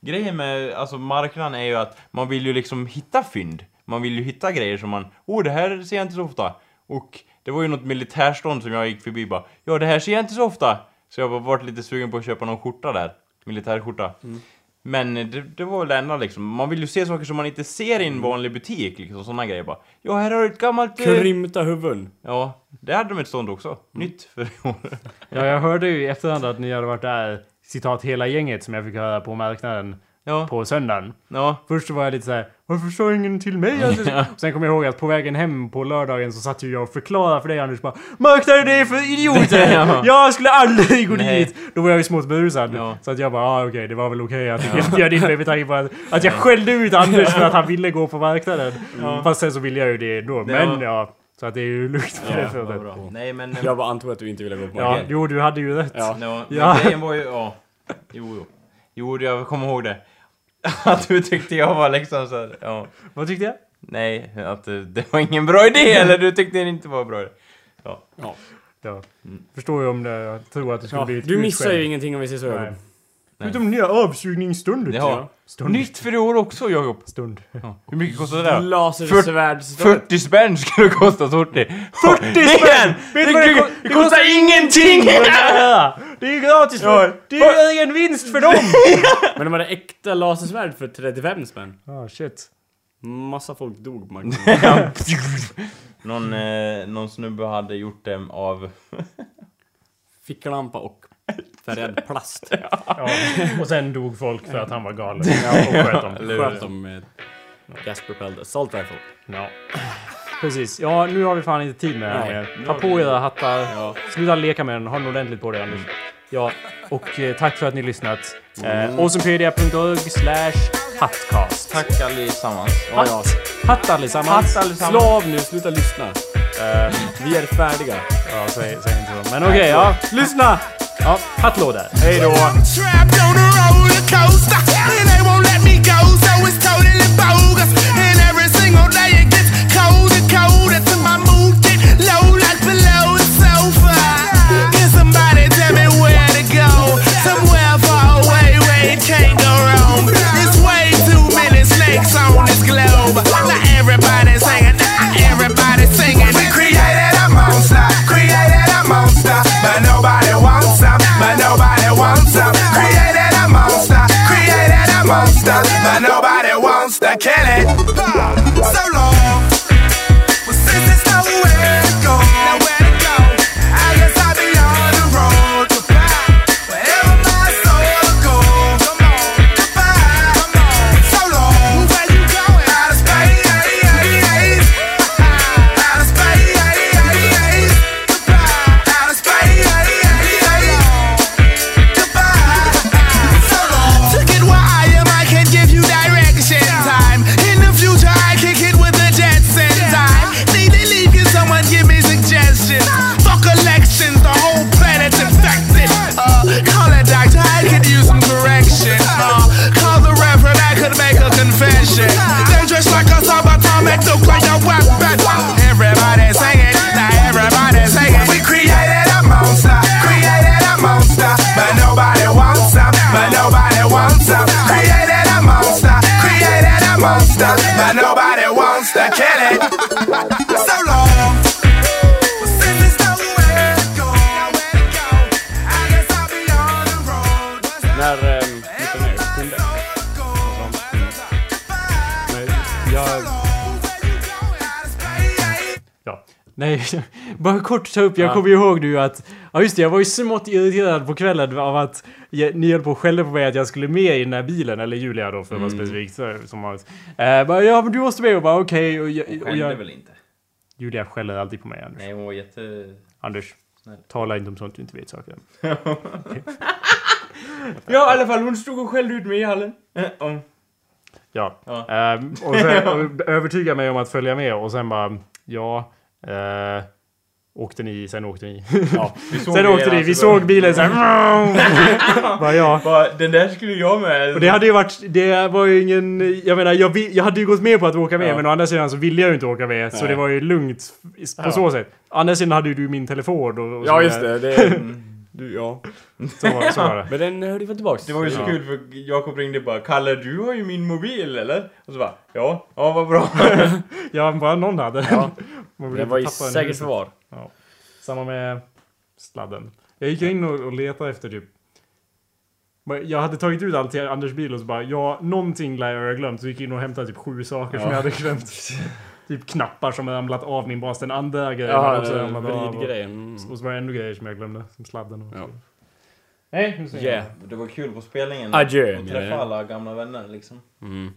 Speaker 2: grejen med alltså, marknaden är ju att man vill ju liksom hitta fynd. Man vill ju hitta grejer som man... Åh, det här ser jag inte så ofta. Och det var ju något militärstånd som jag gick förbi bara. Ja, det här ser jag inte så ofta. Så jag har varit lite sugen på att köpa någon skjorta där. Militärskjorta.
Speaker 1: Mm.
Speaker 2: Men eh, det, det var väl det enda liksom. Man vill ju se saker som man inte ser i
Speaker 1: Mm.
Speaker 2: en vanlig butik. Liksom sådana grejer bara. Ja, här har du ett gammalt... eh,
Speaker 3: Krymta huvuden.
Speaker 2: Ja, det hade de ett stånd också. Nytt för i år.
Speaker 1: Ja, jag hörde ju i efterhand att ni hade varit där, citat hela gänget som jag fick höra på marknaden
Speaker 2: Ja,
Speaker 1: på söndagen.
Speaker 2: ja.
Speaker 1: Först så var jag lite så här, varför sa ingen till mig? Anders? Sen kom jag ihåg att på vägen hem på lördagen så satt ju jag och förklarade för dig Anders bara Marknaden är för idioter!
Speaker 2: Ja.
Speaker 1: Jag skulle aldrig gå
Speaker 2: Nej.
Speaker 1: dit! Då var jag ju smått berusad.
Speaker 2: Ja.
Speaker 1: Så att jag bara, ah, okej det var väl okej att jag bjöd in mig med tanke på att, att jag skällde ut Anders för att han ville gå på marknaden. Fast sen så ville jag ju det ändå. Men
Speaker 2: var-
Speaker 1: ja, så att det är ju lugnt på det sättet.
Speaker 2: Nej men...
Speaker 3: Jag bara antog att du inte ville gå på
Speaker 1: Ja,
Speaker 3: marknaden.
Speaker 1: jo du hade ju rätt.
Speaker 3: Ja.
Speaker 2: Ja, men
Speaker 1: Ja.
Speaker 2: grejen var ju... Ja. Jo, jo. Jo, jag kommer ihåg det. Att du tyckte jag var liksom så här, ja.
Speaker 1: Vad tyckte jag?
Speaker 2: Nej, att eh, det var ingen bra idé, eller du tyckte det inte var bra idé. Ja.
Speaker 1: Ja.
Speaker 2: Mm.
Speaker 1: Förstår ju om det, jag tror att det skulle
Speaker 3: Ja,
Speaker 1: bli ett
Speaker 3: du missar ju
Speaker 1: utskälld.
Speaker 3: ingenting om vi ses ögon.
Speaker 1: Nej. Utom nya avsugningsstundet.
Speaker 2: Jaha.
Speaker 1: Stund.
Speaker 2: Nytt för i år också, Jakob.
Speaker 1: Stund.
Speaker 2: Hur mycket kostade det? då?
Speaker 3: Lasersvärd...
Speaker 2: 40 spänn skulle det kosta, 40. 40
Speaker 1: spänn! Vet du vad det
Speaker 2: Det,
Speaker 1: ko-
Speaker 2: det kostar ingenting!
Speaker 1: Det är ju gratis!
Speaker 2: Ja.
Speaker 1: Det är ju en vinst för dem!
Speaker 3: Men de hade äkta lasersvärd för 35 spänn.
Speaker 1: Ah, shit.
Speaker 3: Massa folk dog på marknaden.
Speaker 2: någon, eh, någon snubbe hade gjort dem av...
Speaker 3: Ficklampa och färgad plast.
Speaker 1: Ja. Och sen dog folk för att han var galen. Och sköt dem.
Speaker 3: Sköt dem med gas propelled assault rifle.
Speaker 1: Ja. Precis. Ja, nu har vi fan inte tid med det här
Speaker 3: Nej.
Speaker 1: mer. Ta på era hattar. Sluta leka med den. Ha den ordentligt på dig, Anders. Ja, och eh, tack för att ni lyssnat. Eh, Awesomepedia.org slash hattcast.
Speaker 2: Tack allesammans.
Speaker 1: Hatt. Hatt allesammans.
Speaker 2: Hatt allesammans.
Speaker 3: Slå av nu, sluta lyssna. vi är färdiga.
Speaker 1: Eh. Ja, säg, säg inte så. Men okej, ja. Lyssna! Ja, hattlåda. Hej då!
Speaker 5: Trapped on a roller coaster, and they won't let me go, so it's totally bogus. And every single day it gets colder, colder till my mood get low like below the sofa. Can somebody tell me where to go? Somewhere far away where it can't go wrong. There's way too many snakes on this globe. Not everybody's hanging, not everybody's singing. We created a monster, created a monster, but nobody wants some, but nobody wants some. Created a monster, created a monster. Kelly. So long. Since it's nowhere to go, nowhere to go, I guess I'll be on the road. Was I
Speaker 3: När... Eh, lite mer. Kunde.
Speaker 1: Nej, jag... Ja. Nej, bara kort ta upp. Jag kommer ihåg nu att... Ja just det, jag var ju smått irriterad på kvällen av att jag, ni höll på och skällde på mig att jag skulle med i den här bilen. Eller Julia då för
Speaker 2: Mm.
Speaker 1: att vara specifik. så- Som var, eh, bara, ja men du måste med och bara okej. och jag- och
Speaker 2: Skämde
Speaker 1: jag,
Speaker 2: väl inte?
Speaker 1: Julia skäller alltid på mig Anders.
Speaker 2: Nej, hon var jätte...
Speaker 1: Anders, tala inte om sånt du inte vet saker om.
Speaker 2: Ja, i alla fall, hon stod och skällde ut mig i hallen. Eh, om.
Speaker 1: Ja.
Speaker 2: Ja.
Speaker 1: Ehm, och sen och övertyga mig om att följa med och sen bara, ja. eh, åkte ni, sen åkte ni. Ja.
Speaker 2: såg
Speaker 1: sen åkte
Speaker 2: bilen,
Speaker 1: ni, vi
Speaker 2: alltså, bara-
Speaker 1: såg bilen så här. bara, ja.
Speaker 2: Bara, den där skulle jag med.
Speaker 1: Och det hade ju varit, det var ju ingen, jag menar jag, vi- jag hade ju gått med på att åka med
Speaker 2: Ja.
Speaker 1: men å andra sidan så ville jag ju inte åka med så
Speaker 3: Nej.
Speaker 1: det var ju lugnt på så sätt. Å andra sidan hade ju du min telefon och, och
Speaker 3: Ja
Speaker 1: så
Speaker 3: just
Speaker 1: där.
Speaker 3: det, det...
Speaker 1: Mm.
Speaker 3: Du, ja.
Speaker 1: Så var, så var det.
Speaker 3: Men den hörde vi tillbaks.
Speaker 2: Det var ju så kul för Jakob ringde bara Kalle du har ju min mobil eller? Och så bara ja, ja vad bra.
Speaker 1: Ja, bara någon hade den. Man vill
Speaker 3: Den
Speaker 1: inte
Speaker 3: var i
Speaker 1: tappa den.
Speaker 3: säkert förvar.
Speaker 1: Samma med sladden. Jag gick in och, och letade efter typ... Men Jag hade tagit ut allt till Anders bil och så bara ja, någonting lär jag ha glömt. Så gick jag in och hämtade typ sju saker som jag hade glömt. typ knappar som hade ramlat av min bas. Den andra grejen hade
Speaker 3: Ja,
Speaker 1: också ramlat av. Och,
Speaker 3: vridgrejen. Mm.
Speaker 1: och så var det ändå grejer som jag glömde. Som sladden och
Speaker 3: Ja.
Speaker 1: Nej, nu ser jag.
Speaker 3: Yeah.
Speaker 2: Det var kul på spelningen.
Speaker 3: Adjö.
Speaker 2: Att träffa alla gamla vänner liksom.
Speaker 3: Mm.